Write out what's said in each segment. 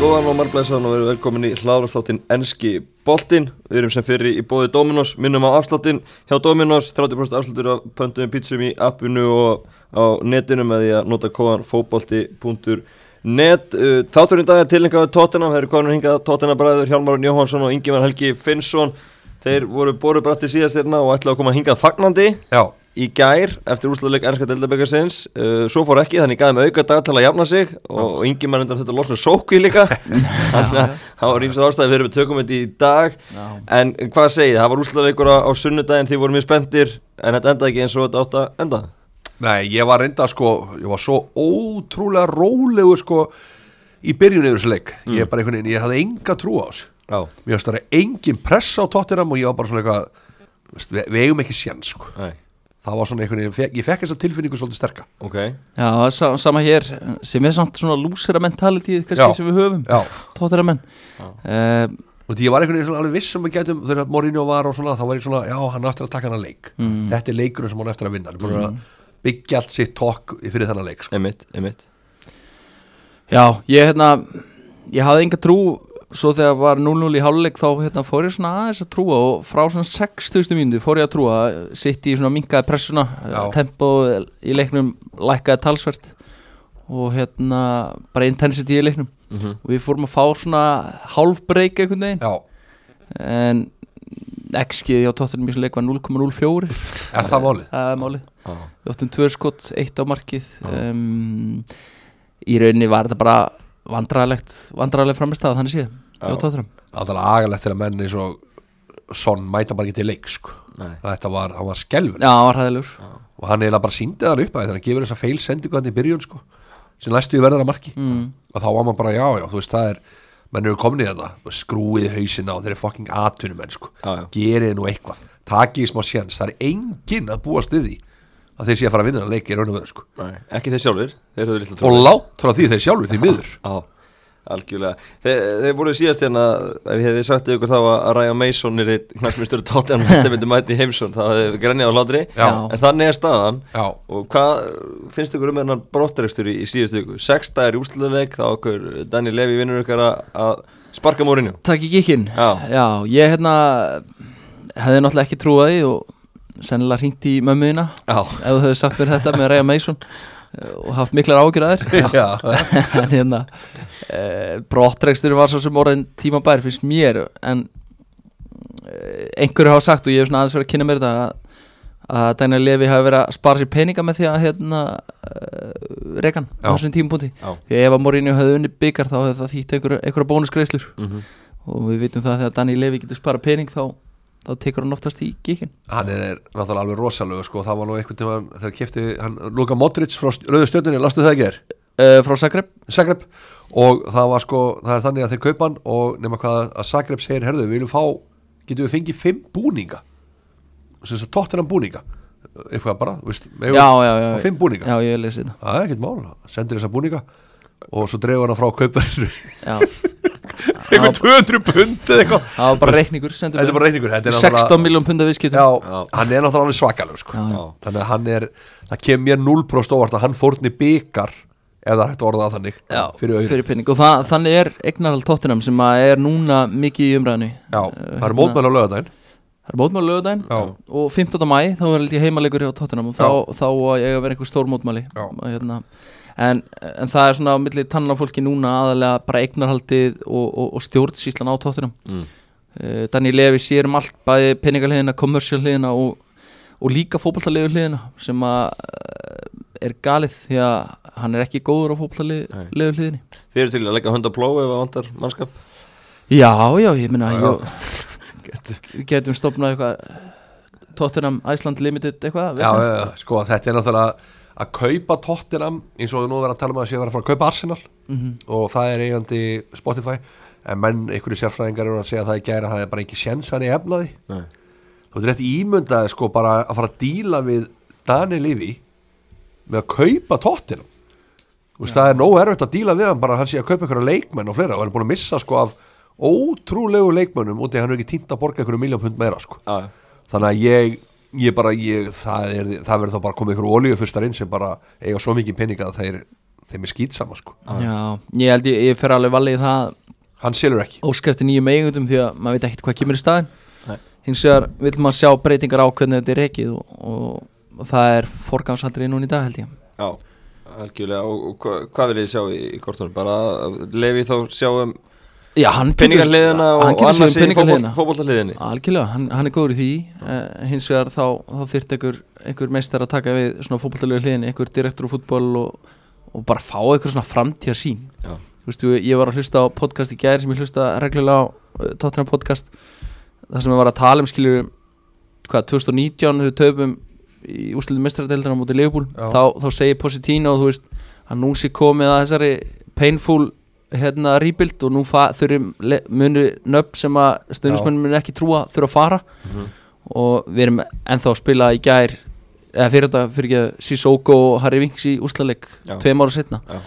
Góðan og marglæsaðan og verið velkomin í hláðarsláttinn Enski Boltinn. Við erum sem fyrir í bóði Dominos, minnum á afsláttinn hjá Dominos, 30% afsláttur af pöntum pítsum í appinu og á netinu með því að nota kóðan fótbolti.net Uh, Þátturinn í dag er tilengaðu Tottenham, þeir eru konur hingað Tottenham bræður Hjálmarun Jóhansson og Ingemar Helgi Finnsson. Þeir voru borubratti síðast hérna og ætlaðu að koma hingað fagnandi Já, í gær eftir úrslagleik ennska deildaböggarsins uh, svo fór ekki þannig gæði með auka dag til að jafna sig og, og yngi mann undan þetta losna sóku líka þannig að það var ímsar ástæði fyrir við tökum þetta í dag Já. en hvað segið, það var úrslagleikur á, á sunnudaginn því voru mjög spenntir en þetta endaði ekki eins og þetta átt að enda nei, ég var reynda sko, ég var svo ótrúlega rólegur sko í byrjun yfir þessu leik Ég bara einhvern veginn, ég hafði enga trú á þessu Já, Mér varst það engin press á tóttinam og ég var bara svona eitthvað þú veist, við, við eigum ekki séns sko nei, Það var svona einhvern veginn, ég fekk- ég fekk þessa tilfinningu svolítið sterka ok Já, sa- sama hér sem er samt svona lúsera mentalitíð Já. kannski sem við höfum, Já, tóttara menn uh, og því ég var einhvern veginn svona alveg viss sem við gætum þegar Mourinho var og svona, þá var ég svona, já, hann á eftir að taka hann að leik Þetta er leikurinn sem hann á eftir að vinna Hann er búin að byggja allt sitt tók fyrir þennan leik sko. Einmitt, einmitt Já, ég hérna ég hafði enga trú svo þegar var 0-0 í háluleik þá hérna, fór ég svona aðeins að trúa og frá svona 6000 mínútu fór ég að trúa sitt í svona minkaði pressuna Já. tempo í leiknum lækkaði talsvert og hérna bara intensity í leiknum Mhm. og við fórum að fá svona hálfbreyk einhvern veginn Já, en XG hjá tóttunum í svona leik var 0,04 er það málið? það er málið Já, við áttum tvö skott, eitt á markið um, í rauninni var þetta bara vandræðilegt vandræðileg framistæða þannig séð Já. hjá Tottenham. Það er agalegt þegar menn eins og Son mæta bara ekki til leik sko. nei, Þetta var, hann var skelfur já, það var hæðilegur og hann eiginlega bara síndi það upp að þegar hann gefur þessa feil sendingu hann í byrjun sko, sem næstu í verðara marki mm. og þá var maður bara já, já, þú veist það er menn eru komin í þetta, skrúið í hausina og þeir eru fucking atunum menn sko Já, já. gerið nú eitthvað, takið í smá sjans það er enginn að búast við því að þeir sé að fara að vinna þennan leik í raun og veru sko nei Ekki þeir sjálfur, þeir höfðu lítla og látt frá því þeir sjálfur því miður Já, algjörlega Þe, Þeir voru síðast hérna ef ég hefði sagt við ykkur þá að að Ryan Mason er eitt knallmjöstur tótt en mest ef við mætti heimsson þá hefði grænjað á hlátri Já. en þannig er staðan já, og hvað finnst ykkur um hennan brottarekstur í, í síðustu ykkur? Sexta er úrslöðleik þá okkur Danny Levy vinnur ykkur að- að sparka mórinu takk í kikkin Já. ég hérna hefði náttúrulega ekki trúið því og sennilega hringt í mömmuðina Já, ef þú hefði sagt mér þetta með Raya Mason eh, og haft miklar ágjur að þér já. en hérna e, brottrekstur var svo sem orðin tímabær finnst mér en e, einhverju hafa sagt og ég hef svona aðeins verið að kynna mér þetta að, að Daniel Levy hafi verið að spara sér peninga með því að hérna e, rekan Já. á þessum tímapunkti Já. því að ef að Morinu hefði unni byggar þá hefði það þýtt einhverja, einhverja bónusgreislur Mhm. og við vitum það að þegar Daniel Levy getur spara pening þá, þá tekur hann oftast í gíkin hann er náttúrulega alveg rosalög sko, það var nú einhvern tíma þegar kefti hann Luka Modric frá Rauðustjörnunni, lastu það ekki er? e, frá Zagreb Zagreb og það var sko, það er þannig að þeir kaupa hann og nema hvað að Zagreb segir herðu, við viljum fá, getum við fengið fimm búninga sem þess að tóttir hann búninga eitthvað bara, veist já, eigum- já, já, og fimm búninga, já, ég lesi þetta það er ekkert mál sendir þessa búninga og svo dreifur hann frá kaupverðinu já, eitthvað 200 pund eða eitthvað það var bara reikningur sendur þetta er mér. bara reyningur, þetta er 16 miljón punda viðskiptum já, Já. hann er náttúrulega alveg svakalög sko. Já, já. Já. þannig að hann er, það kemur mér 0% óvart að hann fórni byggar ef það er hægt að orða það þannig Já, fyrir auðvitað fyrir penning og það, þannig er eignarhald tóttinam sem að er núna mikið í umræðinu Já, það eru mótmæla á lögadaginn Það er mótmæli lögudaginn Já. og 15. mæ þá er litið heimalegur hjá tóttinam og þá, þá að ég að vera einhver stór mótmæli Já. Og hérna, en, en það er svona á milli tannan á fólki núna aðalega bara eignarhaldið og, og, og stjórnsýslan á tóttinam Mm. uh, Daniel Levi sér um allt bæði peningaliðina, kommersjaliðina og, og líka fótballtaliðuliðina sem að eh, er galið því að hann er ekki góður á fótballtaliðuliðinni Þeir eru til að leggja hönda plói ef það vantar mannskap Já, já, ég minna já. Við getum stopnað eitthvað Tottenham Iceland Limited eitthvað já, vesen. já, já, sko þetta er náttúrulega að kaupa Tottenham eins og nú er verið að tala um að sé að vera að fara að kaupa Arsenal og það er eigandi Spotify en menn, einhverju sérfræðingar eru að segja það í gæri að það er bara ekki sjens hann í efnaði Nei, þú veit rétt ímyndaði sko bara að fara að díla við Dani Livi með að kaupa Tottenham Þú veist, það er nógu erfitt að díla við hann bara að hann sé að kaupa einhverja leikmenn og fleira og hann er búin að missa sko af ótrúlegu leikmennum út í að hann er ekki tímt að borga einhverju miljón pund meira sko já, já, þannig að ég, ég bara ég, það, er, það verður þá bara komið ykkur olíu fyrstar inn sem bara eiga svo mikið pening að þeir þeim er skýt saman sko Já, ég held ég, ég fer alveg valið í það hann selur ekki óskæfti nýjum eigundum því að maður veit ekkert hvað kemur í staðin Nei. hins vegar vil maður sjá breytingar á hvernig þetta er ekið og, og, og það er forgangsaldrið núna í dag held ég Já, algjörlega og, og hva, hvað vil ég sjá í, í kortunum? Bara að lefi þá sjáum Já, hann getur, peningarliðina hann og getur annars séð um í peningaliðina. fótballtaliðinni Algjörlega, hann, hann er góður í því uh, hins vegar þá, þá þyrt einhver, einhver meistar að taka við svona fótbolltalegu hliðin einhver direktor á fútbol og, og bara fá einhver svona framtíða sín Já. Þú veist, ég- ég var að hlusta á podcast í gær sem ég hlusta reglulega á uh, Tottenham podcast þar sem ég var að tala um skilur hvað, 2019 þau töfum í úsliðum meistaradeildina á móti Leifbúl Já. þá, þá segir Positino þú veist, að nú sé komið að þessari painful hérna rebuild og nú fa- þurfum le- munu nöpp sem að stundismönnum mun ekki trúa þurfa að fara og við erum ennþá að spila í gær eða fyrir þetta fyrir ekki Sissoko og Harry Winks í úslaleg Já. tveim ára setna Já.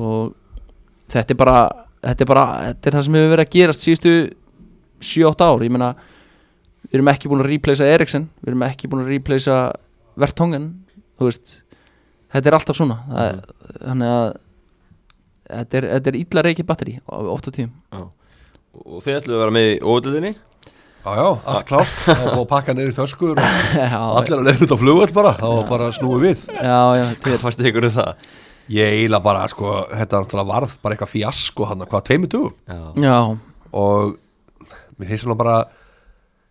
og þetta er bara þetta er bara, þetta er það sem hefur verið að gerast síðustu 7-8 ár, ég meina við erum ekki búin að replacea Eriksen við erum ekki búin að replacea Vertongen þú veist, þetta er alltaf svona það, þannig að þetta er, þetta er illa reikið batteri ofta tíðum og þið ætluðu að vera með í óvöldiðinni já já, allt klárt, það var búið að pakka niður í töskur og já, allir að leiða út á flugvöld bara það var bara að snúi við já, já, þetta Hvað fannst þið ykkur um það? ég eiginlega bara sko, þetta er náttúrulega varð bara eitthvað fjasko hann, hvað tveimur dugum Já, er já, og mér finnst svona bara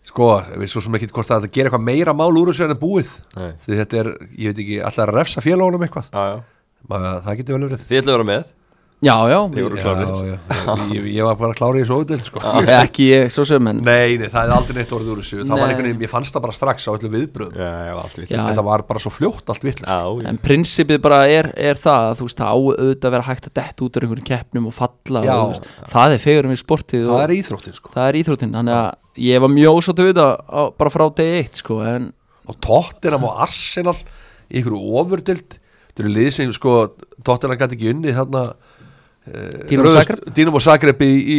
sko, við svo sem ekki hvort að þetta gera eitthvað meira mál úr þessu en er búið Nei. því þetta er, ég veit ekki, alltaf að refsa félagunum eitthvað, já, já Maður, það getur vel verið Þið ætluðu að vera með já, já, Þið voru klárir já, já, ég, ég var bara að klára í þessu óvindil sko. já ekki ég, svo sem en nei, nei, það er aldrei neitt orðið úr þessu það var Nei. einhvern veginn, ég fannst það bara strax á öllu viðbröðum Já, já, allt vitt Já, þetta var bara svo fljótt allt vittlust já, En prinsipið bara er, er það að þú veist, það á auðvitað að vera hægt að detta út úr einhverjum keppnum og falla Já. og þú veist, það er fegurum í sportið það og er íþróttin sko. það er íþróttin, þannig að ég var mjög ósáttu við það á- bara frá degi eitt sko, en og Tottenham og Arsenal í einhverju ofurdild þetta eru lið sem sko Tottenham gæti ekki unni þarna Eh, Dínamo Zagreb? Dínum og Zagreb í, í,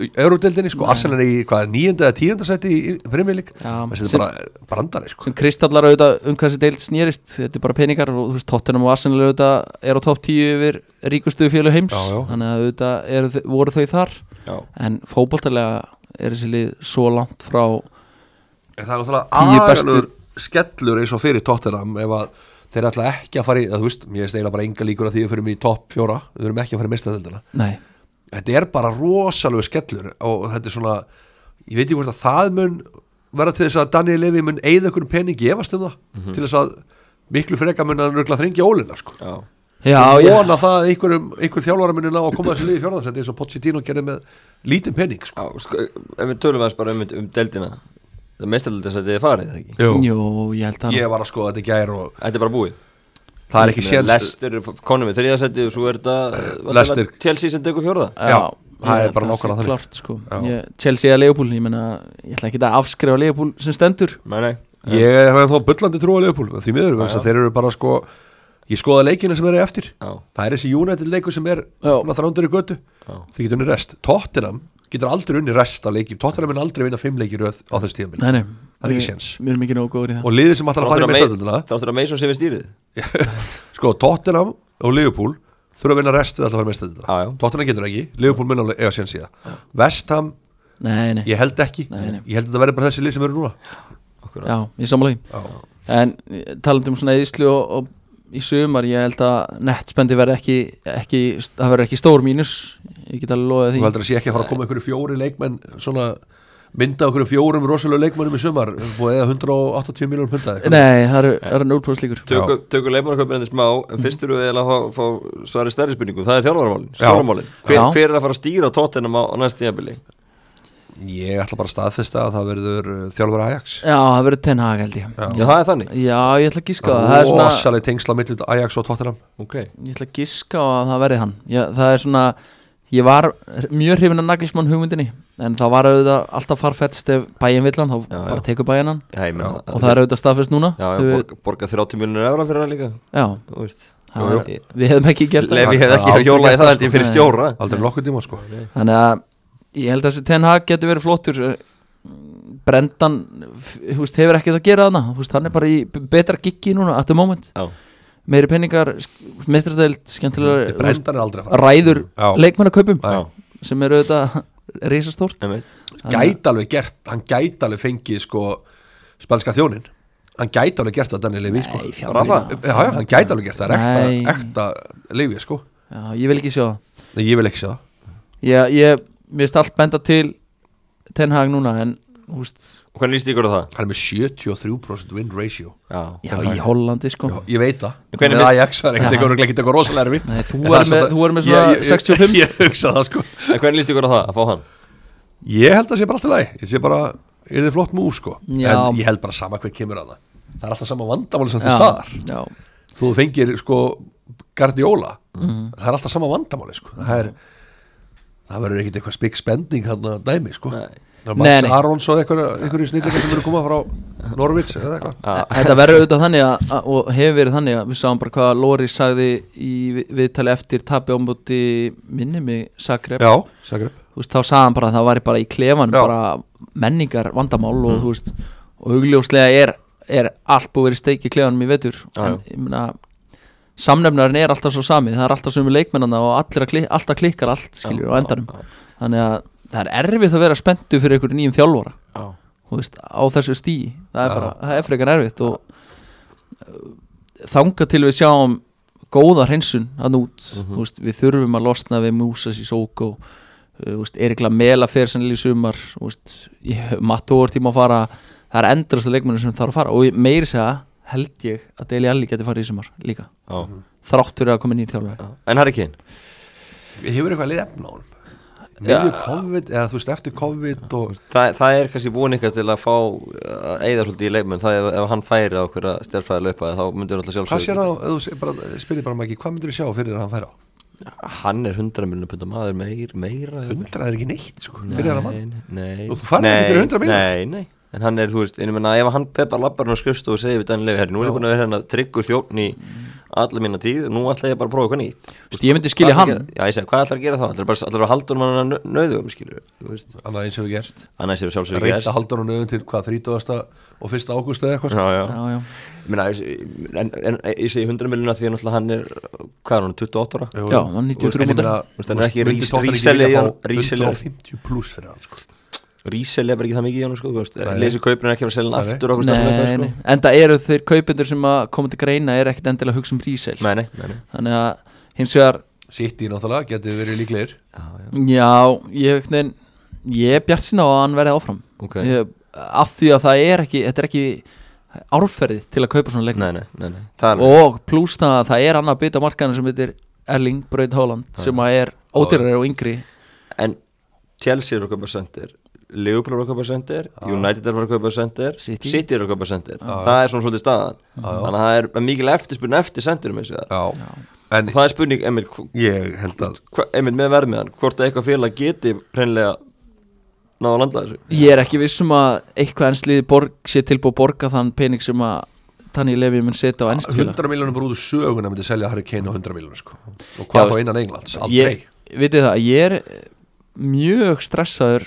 í Eurodildinni sko, Arsenal er í hvað, níunda eða tíunda seti í Primilík Já, þessi er sem- bara brandari sko sem kristallar auðvitað um hvað þessi deild snýrist, þetta er bara peningar og þú veist, Tottenham og Arsenal auðvitað er á topp 10 yfir ríkustu fjölu heims, Já, já. þannig að auðvitað er, voru þau þar, já, en fótboltalega er þessi lið svo langt frá En það er Tíu náttúrulega bestu- agalur skellur eins og fyrir Tottenham ef að þeir ætla ekki að fara í að, þú veist, mér er steila bara enga líkur að því að fyrir mig í topp fjóra við erum ekki að fara í mistadildina nei, þetta er bara rosalegu skellur og þetta er svona, ég veit ekki hvort að það mun vera til þess að Daniel Levy mun eigða einhverjum pening gefast um það Mhm. til þess að miklu freka mun að rögla þringja ólina sko. já já, ég já, vona það að einhverjum, einhver þjálfara muni ná að koma þessu liði fjórðarsætti eins og Pochettino gerði með lítinn pening sko. Já, sko, ef við tölum aðeins bara um, um deildina Það meistarlega þess að þið er farið, eða ekki? jú, ég held að ég var að skoða þetta í gær og Þetta er bara búið það er ekki Með séns Eh, Leicester er konum við þriðasetti og svo er þetta Leicester. Eh. Chelsea sem tekur fjórða Já, það er bara nákvæmlega sé þannig. klart, sko. Já. ég, Chelsea að Leopold, ég menna ég ætla ekki að afskrifa Leopold sem stendur Nei, nei ég hef þá bullandi trú á Leopold því miður, vegna Já, þess að þeir eru bara sko ég skoða leikina sem eru eftir Já, það er þessi United leiku sem er Já. svona þrándur í götu, Já. þið getur unni rest Tottenham getur aldrei unni rest að leikjum Tottenham mun aldrei vinna fimm leikir röð á þessu tíðanbili nei, nei, Það er ekki við- séns. við erum ekki nógu góður í það og liðið sem ætlar að fara í mestadölduna Þáttur að Mason sé við stýrið sko Tottenham og Liverpool þurfa að vinna rest eða ætla að fara Já, já. í mestadölduna Tottenham getur ekki, Liverpool mun alveg eiga séns í það Vestham, nei, nei, ég held ekki Nei, nei. ég held að það verði bara þessi lið sem eru núna já, ég sammála því Já. en eh, talandi um svona eðislu og, og í sumar, ég held að nettspendi verði ekki, ekki það verður ekki stór mínus ég get alveg loðið Þú því heldur að sé ekki að fara að koma einhverju fjóri leikmenn svona mynda okkur fjórum rosalega leikmennum í sumar og eða 180 miljónum punta eða eitthvað. nei, það eru- það eru 0% líkur Tökum, tökum leikmannaköpinn endur smá En fyrst eru við eiginlega að fá, fá svari stærri spurningu Það er þjálfarmálin, stórmálin hver, Já. hver er að fara að stýra tóttinum á, á næst tíðabili? Ég ætla bara að staðfesta að það verður uh, þjálfur Ajax já, það verður tenhag held ég Já, það er þannig já, ég ætla að gíska Sko, það það er svona rosalega tengsla millir Ajax og Tottenham Ok Ég ætla að giska á að það verði hann ég, Það er svona Ég var mjög hrifin að Nagelsmann hugmyndinni En það var auðvitað alltaf farfetst Ef bæin vill hann, þá Já, bara já. tekur bæin hann Já, ég meina Og það er auðvitað staðfest núna Já, já Þau- borga, borga 30 miljonir evra fyrir hann líka já, Þú veist það var, Við hefðum ekki gert sko. það Lefi hefði Það- ekki að það- hjóla í það- það held ég fyrir Nei. stjóra Aldrei nokkuð tíma sko Þannig að ég held að þessi Ten Hag getur verið flottur Brendan f- þú veist, hefur ekkert að gera þarna Þú veist, Hann er bara í betra giggi núna At the moment Já, meiri penningar mistradeild, skemmtilegar þú veist, Brendan er aldrei að fara um, ræður Já. leikmannakaupum Já. sem eru auðvitað risastórt einmitt. Gæti alveg gert, hann gæti alveg fengið sko spænska þjónin Hann gæti alveg gert það Daniel Levy sko Nei, fjandinn. Rafa, já, já, hann gæti alveg gert það Það er Nei. ekta, ekta Levy sko Já, ég vil ekki sjá það Nei, ég vil ekki sjá það ég, ég, mér veist allt benda til Ten Hag núna en húst, Og Hvernig líst ykkur á það? Hann er með 73% win ratio Já, já, í Hollandi sko Já, Ég veit En það hvernig Með mist- Ajax það er ekkert Já. eitthvað ekki eitthvað rosalega erfitt Nei, þú En það er með- samt að- þú er með svona Ég- ég- 65. Ég hugsa það sko En hvernig líst ykkur á það að fá hann? Ég held að það sé bara allt í lagi Ég sé bara, er þið flott múf sko Já. En ég held bara sama hver kemur að það Það er alltaf sama vandamáli sem þú já, staðar já, Þú fengir sko Guardiola Mhm. Það er alltaf sama vandamáli sko Það er Það verður ekkit eitthvað spik spending hann að dæmi sko Nei. Það er Nei, Max nei. Arons og einhverju einhverju snillingar sem eru að koma frá Norvits eða eitthvað Já. E, þetta verður auðvitað þannig að, að, og hefur verið þannig að við sáum bara hvað Lóri sagði í vi- viðtali eftir tabi ámbúti minni mig Sakrep, Já, Zagreb þú veist, þá sagði hann bara að það væri bara í klefan, Já. bara menningar vandamál Mhm. og þú veist og augljóslega er, er allt búið verið steik í klefanum í vetur Já, en ég meina samnefnarinn er alltaf svo sami, það er alltaf sömu leikmennana og allir að klik, alltaf klikkar allt skilur á endanum, þannig að það er erfitt að vera spenntu fyrir einhverju nýjum þjálfara Já. þú veist, á þessu stí það er Já. bara, það er frekar erfitt og uh, þangað til við sjáum góða hreinsun hann út, þú veist, við þurfum að losna við Músas í Sóko uh, þú veist, Erikla Mela fer sannlega í sumar þú veist, ég- Mattó er tíma að fara það er endurasta leikmennir sem þarf að fara og ég- meiri segja, held ég að Deli Alli geti farið í sumar líka, Já. þrátt fyrir að koma nýjum þjálfari En Harry Kane? Hefur eitthvað lið efna á hann? Miður COVID, eða þú veist eftir COVID og Það, það er kannski búin eitthvað til að fá að eigða svolítið í leikmenn það ef, ef hann færi á hverja stjálfæði laupa þá myndir hann alltaf Hvað sér sjálfsög það, ef þú se- bara- spyrir bara mæki, hvað myndir þú sjá fyrir að hann færa á? hann er 100 miljonar pundar maður meir, meira jafnvel. Hundrað er ekki neitt, sko, fyrir hann að mann. Nei, nei Og þú færð ekki fyrir 100 milljónir? Nei, nei En hann er, þú veist, en ég menna ef hann peppar labbarinn á skrifst og segir við Daniel Levi herri, nú er ég búin að vera hérna tryggur þjófn í alla mína tíð, nú ætla ég bara að prófa eitthvað nýtt Vist, ég myndi skilja Hvað ætlar að hann. gera- Já, ég segi, hvað ætlar að gera þá? Ætlar bara ætlar að halda um hann nöðum, skilur þú veist, Annað eins hefur gerst. annars hefur sjálfsögur Reynda haldan og nöðun til hvað, 30. og 1. ágúst eða eitthvað. sko? Já, já, já, já, Ég meina, ég- en, en ég segi 100 miljonar því að náttúrulega hann er, hvað er hann, 28 ára? Jú, já, jú. hann Þú veist, 93 en ég mútur meina, Þú veist, hann er ekki myndi rís- Tottenham ekki ríseli í vilja hann- fá ríseli í hann. 150 pluss fyrir hann, sko. Rísel er bara ekki það mikið í hann, sko, þú veist, Nei. leysi kaupin er ekki að selja hann Nei. aftur okkur Nei, nei, en það eru þeir kaupendur sem að koma til greina er ekkert endilega að hugsa um prísel sko. nei, nei, nei, nei. þannig að hins vegar, City náttúrulega, getið verið líklegir. Já, já, já, ég nein, ég er bjart sinna á að hann verði áfram ok ég, af því að það er ekki þetta er ekki árferðið til að kaupa svona leikna Nei, nei, nei, nei, það er alveg- og pluss það að það er annað bit á markaðinu sem heitir Erling Braut Haaland sem að er ódýrari og yngri En Chelsea er að kaupa sendir Liverpool er að kaupa sendir United er að fara að kaupa sendir City. er að kaupa sendir Það er svona svolítið staðan Þannig að það er mikil eftirspurn eftir sendirum eins og það Já, en Og það er spurning, Emil, hv- ég held að hva- Emil með verðmiðan Hvort að eitthvað félag geti hreinlega náða að landa þessu ég er ekki vissum að eitthvað ensliði borg sé tilbúið að borga þann pening sem að Tanni Levi mun setja Ah, á ennstfélag 100 miljónum bara út úr söguna myndi selja Harry Kane á 100 miljónum, sko. Og hvað Já, þá innan Englands? Aldrei. ég, vitið það, ég er eh, mjög stressaður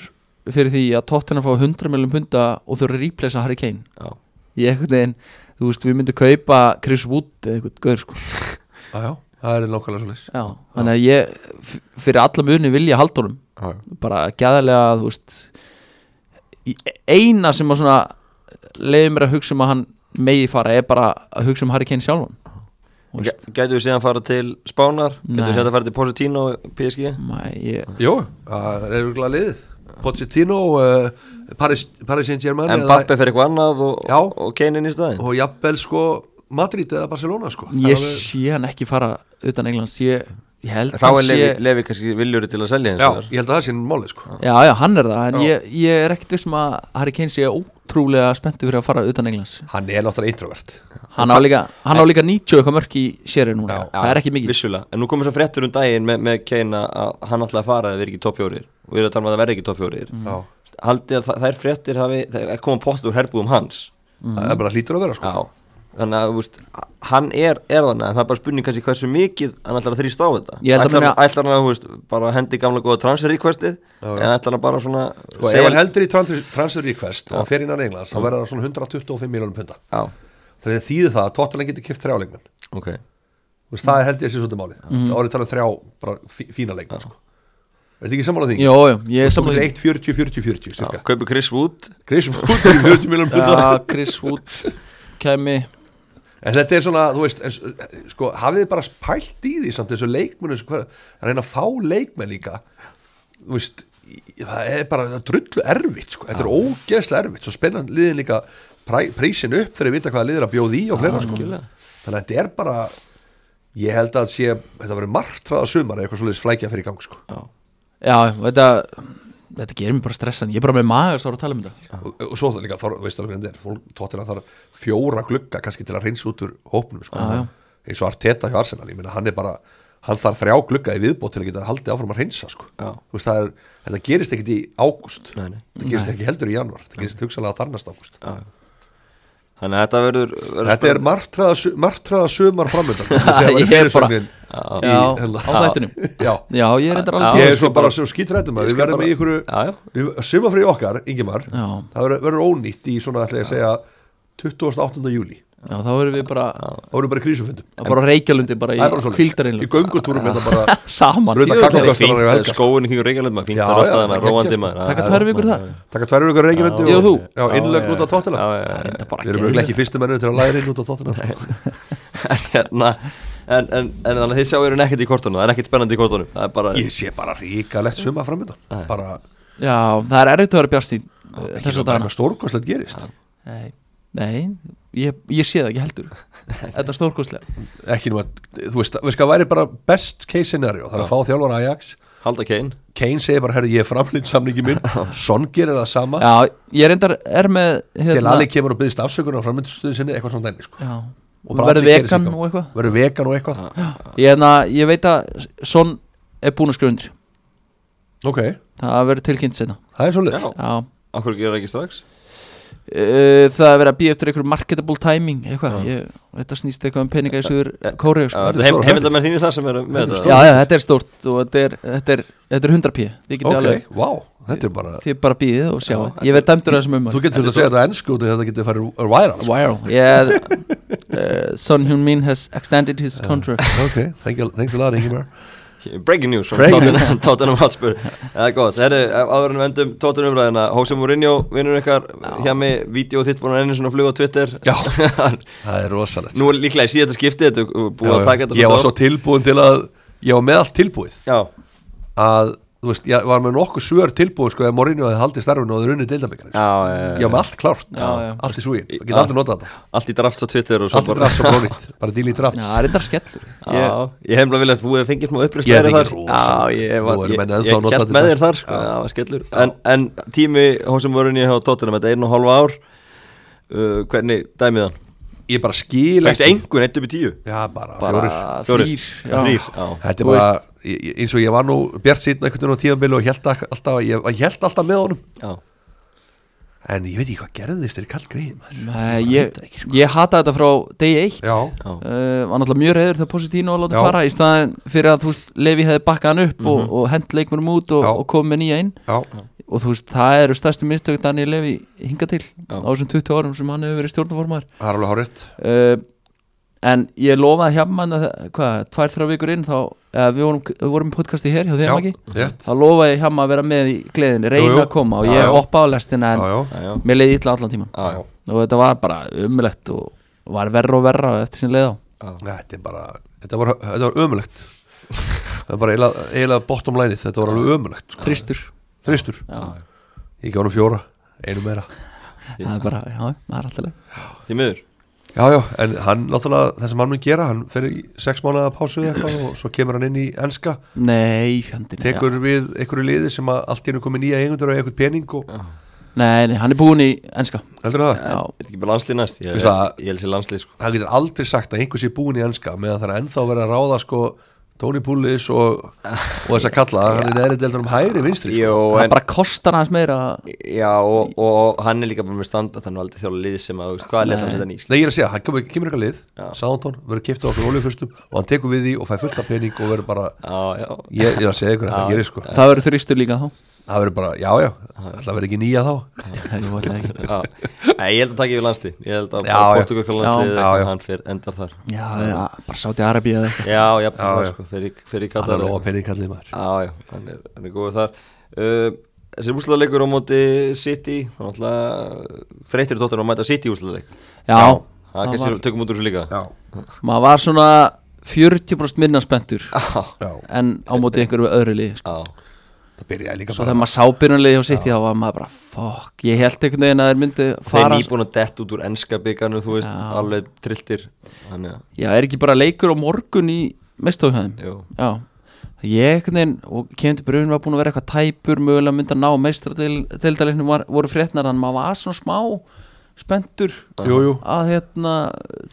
fyrir því að Tottenham fá 100 miljum punda og þau eru að replacea Harry Kane Já. ég einhvern veginn, þú veist, við myndum kaupa Chris Wood eða eitthvað gaur sko Já, já, það er nákvæmlega svolítið. Já, þannig að ég f- fyrir alla muni vilja halda honum bara gæðarlega, þú veist í- eina sem að svona leiði mér að hugsa um að hann megi fara er bara að hugsa um Harry Kane sjálfan Þú veist, Gætu við síðan fara til Spánar Gætu Nei. við síðan fara til Positino PSG mæ, ég, Jó, það er auðvitað liðið Pochettino, uh, Paris, Paris Saint-Germain En eða- Bappe fer eitthvað annað og, Já. og Kane inn í staðin og jafnvel sko Madrid eða Barcelona sko Það er ég alveg- sé hann ekki fara utan Englands, ég, ég held Þá hann er sé- Levi, Levi kannski viljúri til að selja hins Já, vegar. ég held að það sé máli sko Já, já, hann er það, en Já. ég, ég er ekkert vissum að Harry Kane sé ótrúlega spenntu fyrir að fara utan Englands Hann er náttúrulega introvert Hann á líka, hann á líka 90 eitthvað mörk í séri núna, Já, það er ekki mikið Vissulega, en nú komum svo fréttur um daginn með, með Kane að- að hann ætlaði að fara að vera ekki toppjórir og ég er að tala um að það verði ekki toppjórir Já, Haldið að þa- þær fréttir hafi, það er komað pott úr herbúðum hans það er bara hlýtur að vera sko Já, þannig að þú veist, hann er, er þannig en það er bara spurning kannski hversu mikið hann ætlar að þrýsta á þetta Ég held að Ætlar, meina- ætlar hann að, þú veist, bara hendi gamla góða transfer requestið eða ætlar hann bara svona Sko, ef segja- hann heldur í transfer, transfer request og hann fer innan Englands, þá verður það svona 125 miljónum punta Já, Þegar þýði það að Tottenham getur kipt þrjáleikmenn ok Þú veist, það er held ég að sé svolítið máli mm. Það árið talað um þrjá bara fí- fína leikmenn sko. Er þetta ekki sammála því? Jó, jó, ég er samlega 1, 40, 40, 40 Já, cirka. kaupi Chris Wood Chris Wood fyrir 40 miljón punda Já, Chris Wood kemi En þetta er svona, þú veist en, s- sko, hafið þið bara pælt í því samt þessu leikmennu að reyna að fá leikmenn líka þú veist í- það er bara drullu erfitt sko. þetta er ógeðslega erfitt, svo spennan liðin líka præ, prísin upp þegar þið vita hvaða liðir að bjóð í og fleira sko. þannig að þetta er bara ég held að sé, þetta verið martraða sumar eða eitthvað svolítið flækja fyrir í gang sko. Já, þetta Þetta gerir mér bara stressan, ég er bara með maga Sára að tala um þetta og, og svo það líka, þar, veist alveg hvernig þetta er fólk tóttir að þarf fjóra glugga kannski til að reynsa út úr hópnum sko. Já, já. eins og Arteta hjá Arsenal ég meina hann er bara, hann þarf þrjá glugga í viðbót til að geta haldið áfram að reynsa sko. Já. Þú veist, það er, þetta gerist ekkit í ágúst Nei, nei. þetta gerist ekki heldur í janúar þetta gerist hugsalega þarnast ágúst Þannig að þetta verður, verður þetta er martraða, su- martraða sumar framöndan ég Ég er bara- í, Já, hérna. á þættinum já, Já, ég er þetta ég alveg er svo bara svo skítrættum að Ég við skal verðum bara- í ykkur Já, já. sumafrið okkar, Ingemar Já, það verður- verður ónýtt í svona, ætla ég að segja 28. júli já þá erum við bara þá verður bara í krísufundum bara á reykjalundi bara það er bara í svolítið, í kvildarinn göngutúrum þetta bara, Saman Rauða Jöfull. kakó- Það er Kakóköftan fínt, á það helgar. er skóin í kringum Reykjavík maður fínt Já, þar alltaf já, þannig það er róandi geggjað, sko. maður Taka tvær vikur það taka tvær vikur Reykjavík Ég og þú. já, innlögn út á tóttina Já, já, já. Þetta bara við erum gerir- auðvitað ekki fyrstu mennur til að læra inn út á tóttina já, En hérna, en, en, en þannig að þið sjáu eru nekkert í kortunum, það er ekkert spennandi í kortunum Það er bara, ég sé bara ríkalegt suma framöndan bara, Já, það er erfitt að vera eh, bjart í þess að dana bara stórkostlegt gerist Nei, nei ég, ég sé það ekki heldur Þetta er stórkostlega ekki nú að, þú veist, við skal væri bara best case scenario, það er að fá þjálfara Ajax halda Kane Kane segir bara, herru, ég er framlýtt samlingi minn Son gerir það sama Já, ég reyndar er með hérna, Del Alli kemur og byggðist afsökunar á framlýttstöðu sinni eitthvað svona dæmi, sko Já, og bara verður allir geri sig vegan gang. og eitthvað verður vegan og eitthvað, ég, hérna, ég veit að Son er búin að skrifa undir ok, Það verður tilkynnt senna það er svolítið Já, Já okkur gerir það ekki strax Sko, Uh, það er verið að býja eftir einhverjum marketable timing eitthvað, ég, þetta snýst eitthvað um peninga í suður kóri Já, sko. þetta er heim- Heimildamenn þínir þar sem eru með já, þetta já, þetta er stórt og þetta er, þetta er, þetta er 100p þið getið ok, alveg, vá, þetta er bara þið bara býðið og sjá ég verð dæmdur þessum um Þú getur þetta að segja þetta ennsku út af því að þetta getur farið viral sko. wow, yeah uh, Son Heung-min has extended his Uh. contract Ok, thank you, thanks a lot Ingemar Breaking news from Breaking Tottenham, Tottenham Hotspur Það er gott, herri, áður en við endum Tottenham ræðina Hóse Mourinho, vinnur ykkar hjá mig, vídeo þitt búin að ennins og fluga á Twitter Já, það er rosalegt Nú er líklega í síðasta skipti, þetta er búið að taka þetta Ég var svo oft. tilbúin til að Ég var með allt tilbúið Já, að, Þú veist, ég var með nokkuð svör tilbúið sko, ef Mourinho hefði haldið starfinu og þeir runnið deildabikar já, já, já, Ég var með allt klárt, Já, já. allt í súgin Í- Ég get aldrei notað þetta Allt í drafts á Twitter og svo Allt í drafts og brónit, bara díl í drafts já, það er reyndar skellur ég, Já, ég hef bara viljað búið að fengja smá upplýst Ég fengi rosa. Já, ég Nú var, eru ég, menn ennþá ég, að nota hélt þetta með í þér dag. þar sko, það var skellur en, en tími hósum voru nýja hjá Tottenham, þetta er einu og hálfa ár uh, Hvernig dæmið hann? Ég bara skil Leggst einhvern, eitt upp í tíu Já, bara, bara fjórir Fjórir. þrýr Já, Þrýr, já Þetta er Þú bara, ég- ég- eins og ég var nú Bjart síðan einhvern veginn á tíðanbili og held alltaf, ég, ég held alltaf með honum Já, En ég veit ekki hvað gerðist þeir kall greið Nei, ég, ég hata þetta frá degi eitt Já, já, uh, var náttúrulega mjög reyður þegar Positino var látið Já. Mhm. fara í staðin fyrir að þú veist Levi hefði bakkað hann upp og, og hent leikmennum út og, Já. og komið með nýja inn já, og þú veist það eru stærstu mistök Daniel Levi hinga til Já. á þessum 20 árum sem hann hefur verið stjórnformaður það er alveg hárétt uh, en ég lofaði hjá mann að það- hvað, tvær, þrjá vikur inn þá, eða við vorum, við vorum í podcasti hér hjá þér ekki, rétt þá lofaði ég hjá maður að vera með í gleðinni, reyna jú. að koma og Já, ég já. hoppaði á lestina Já, en já, já, já, mér leiði illa allan tíman já, já. og þetta var bara umlegt og var verra og verra eftir sín leið á þetta er bara, þetta var, þetta var ömulegt Það er bara eiginlega, eiginlega bottom line Þetta var alveg ömulegt, sko. fristur þristur Ég gaf hann fjóra, einu meira það er bara, já, það er alltaf leið Því miður Já, já, en hann náttúrulega, það sem hann mun gera Hann fer í sex mánuða pásu eða eitthvað Og svo kemur hann inn í enska Nei, fjandinn Tekur við einhverju liði sem að allt í hennu komið nýja eigendur Og eitthvað pening og já. Nei, nei, hann er búinn í enska heldur það Já, Er ekki bara landslið næst? Ég, Veistu það- ég helsi landslið sko Hann getur aldrei sagt að einhver sé búin í enska meðan það er ennþá verið að ráða sko Tony Pullis og, og þess að kalla hann er neðri deildur um hægri vinstri sko. Jó, það en bara kostar hans meira Já, og, og hann er líka bara með standa Þannig að aldrei þjóla liði sem að, þú veist, hvað er leitt að setja nýsk Nei, ég er að segja, hann kemur, kemur eitthvað lið Sántón, verður kipta okkur oljufyrstum og hann tekur við því og fær fullt af pening og verður bara Já, já ég, ég er að segja ykkur að það gerir sko Það verður þrýstur líka þá það verður bara, já já, það verður ekki nýja þá Ég veit ekki Já, Nei, ég held að taka yfir landslið Ég held að Já, já. Portugal landslið Já, já. hann fyrir endar þar Já, já, bara sáti Arabi eða eitthvað Já, sko, já, já. já. fyrir, fyrir Það er sko. Katar óa peningkallið maður Já, já, hann er, hann er góður þar uh, Þessi úslaðleikur á móti City Þannig að þreytir tóttir að mæta City úslaðleik Það Já, það kannski var, við tökum út úr þessu líka Já, maður var svona 40% minna spenntur Já, já, En á móti einhverju öðru lið sko. já, það byrjaði líka Svo bara þegar maður sá byrjunlið hjá City þá var maður bara Fuck, ég held einhvern veginn að þeir myndu þeir fara nýbúin að dett út úr enska byggarnu Þú veist, Já. alveg trilltir Þannig að, Já, er ekki bara leikur á morgun í meistóðhæðum jú, Já, það ég einhvern veginn og Kevin De Bruyne var búin að vera eitthvað tæpur mögulega myndi að ná meistradeildaleiknum voru fréttnar en maður var svona smá spenntur Jú, jú, að hérna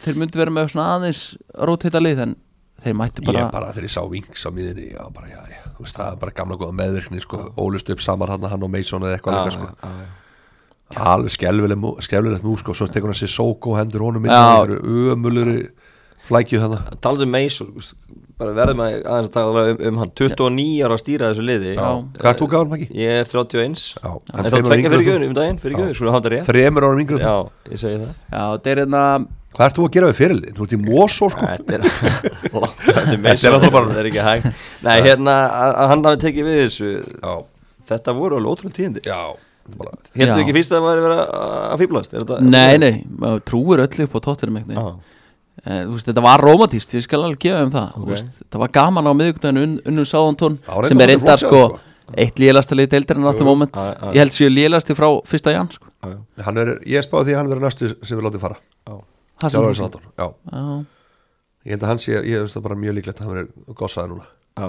þeir myndi vera með svona aðeins rótita lið en þeir mættu bara, ég bara þegar ég sá Vings á miðinni já, bara, já, já, þú veist, það er bara gamla góða meðvirkni sko, ólust upp saman hann, hann og Mason eða eitthvað já, líka sko. já, já. alveg skelvilegt mú- skelfilegt nú sko, svo tekur hann sér sóko hendur honum inn Já. og eru ömulur flækju þannig Talandi um Mason, þú veist, bara verðum að aðeins að tala um, um hann 29 ára að stýra þessu liði Já. hvað er þú gafan Maggi? Ég er 31 Já, En þá tvekja fyrir göðun um daginn, fyrir Já. göðun, skulum hafa þetta rétt þremur árum yngri en þú. Já, ég segi það já þeir er hérna hvað ert þú að gera við fyrirlin? þú ert í Mosó sko Þetta er langt Þetta er Þetta er meðsum, náttúrulega bara- þetta er ekki hægt Nei, hérna, að að hann hafi tekið við þessu já, Þetta voru alveg ótrúlega tíðindi já, bara, Hérna Já. ekki fyrst að það var að vera að fýblast er þetta- nei nei, maður trúir öllu upp á tóttirum Já, eitthvað en, Eh, þú veist, þetta var rómatíst, ég skal alveg gefa um það Ok. okay. veist, þetta var gaman á miðvíkudaginu un, unnum sáðantón Það var sem reyndar er alveg reyndar flott sko hjá þeim, eitt lélasta lið deildarinn á þetta moment já, já. ég held séu lélasti frá fyrsta jan sko. já, hann er, ég spáði því að hann verður næstu sem við látið fara já Það sem- Þjálfarinn Southampton, já. Já, ég held að hann sé, ég veist það bara mjög líklegt að hann verður gossaði núna Já,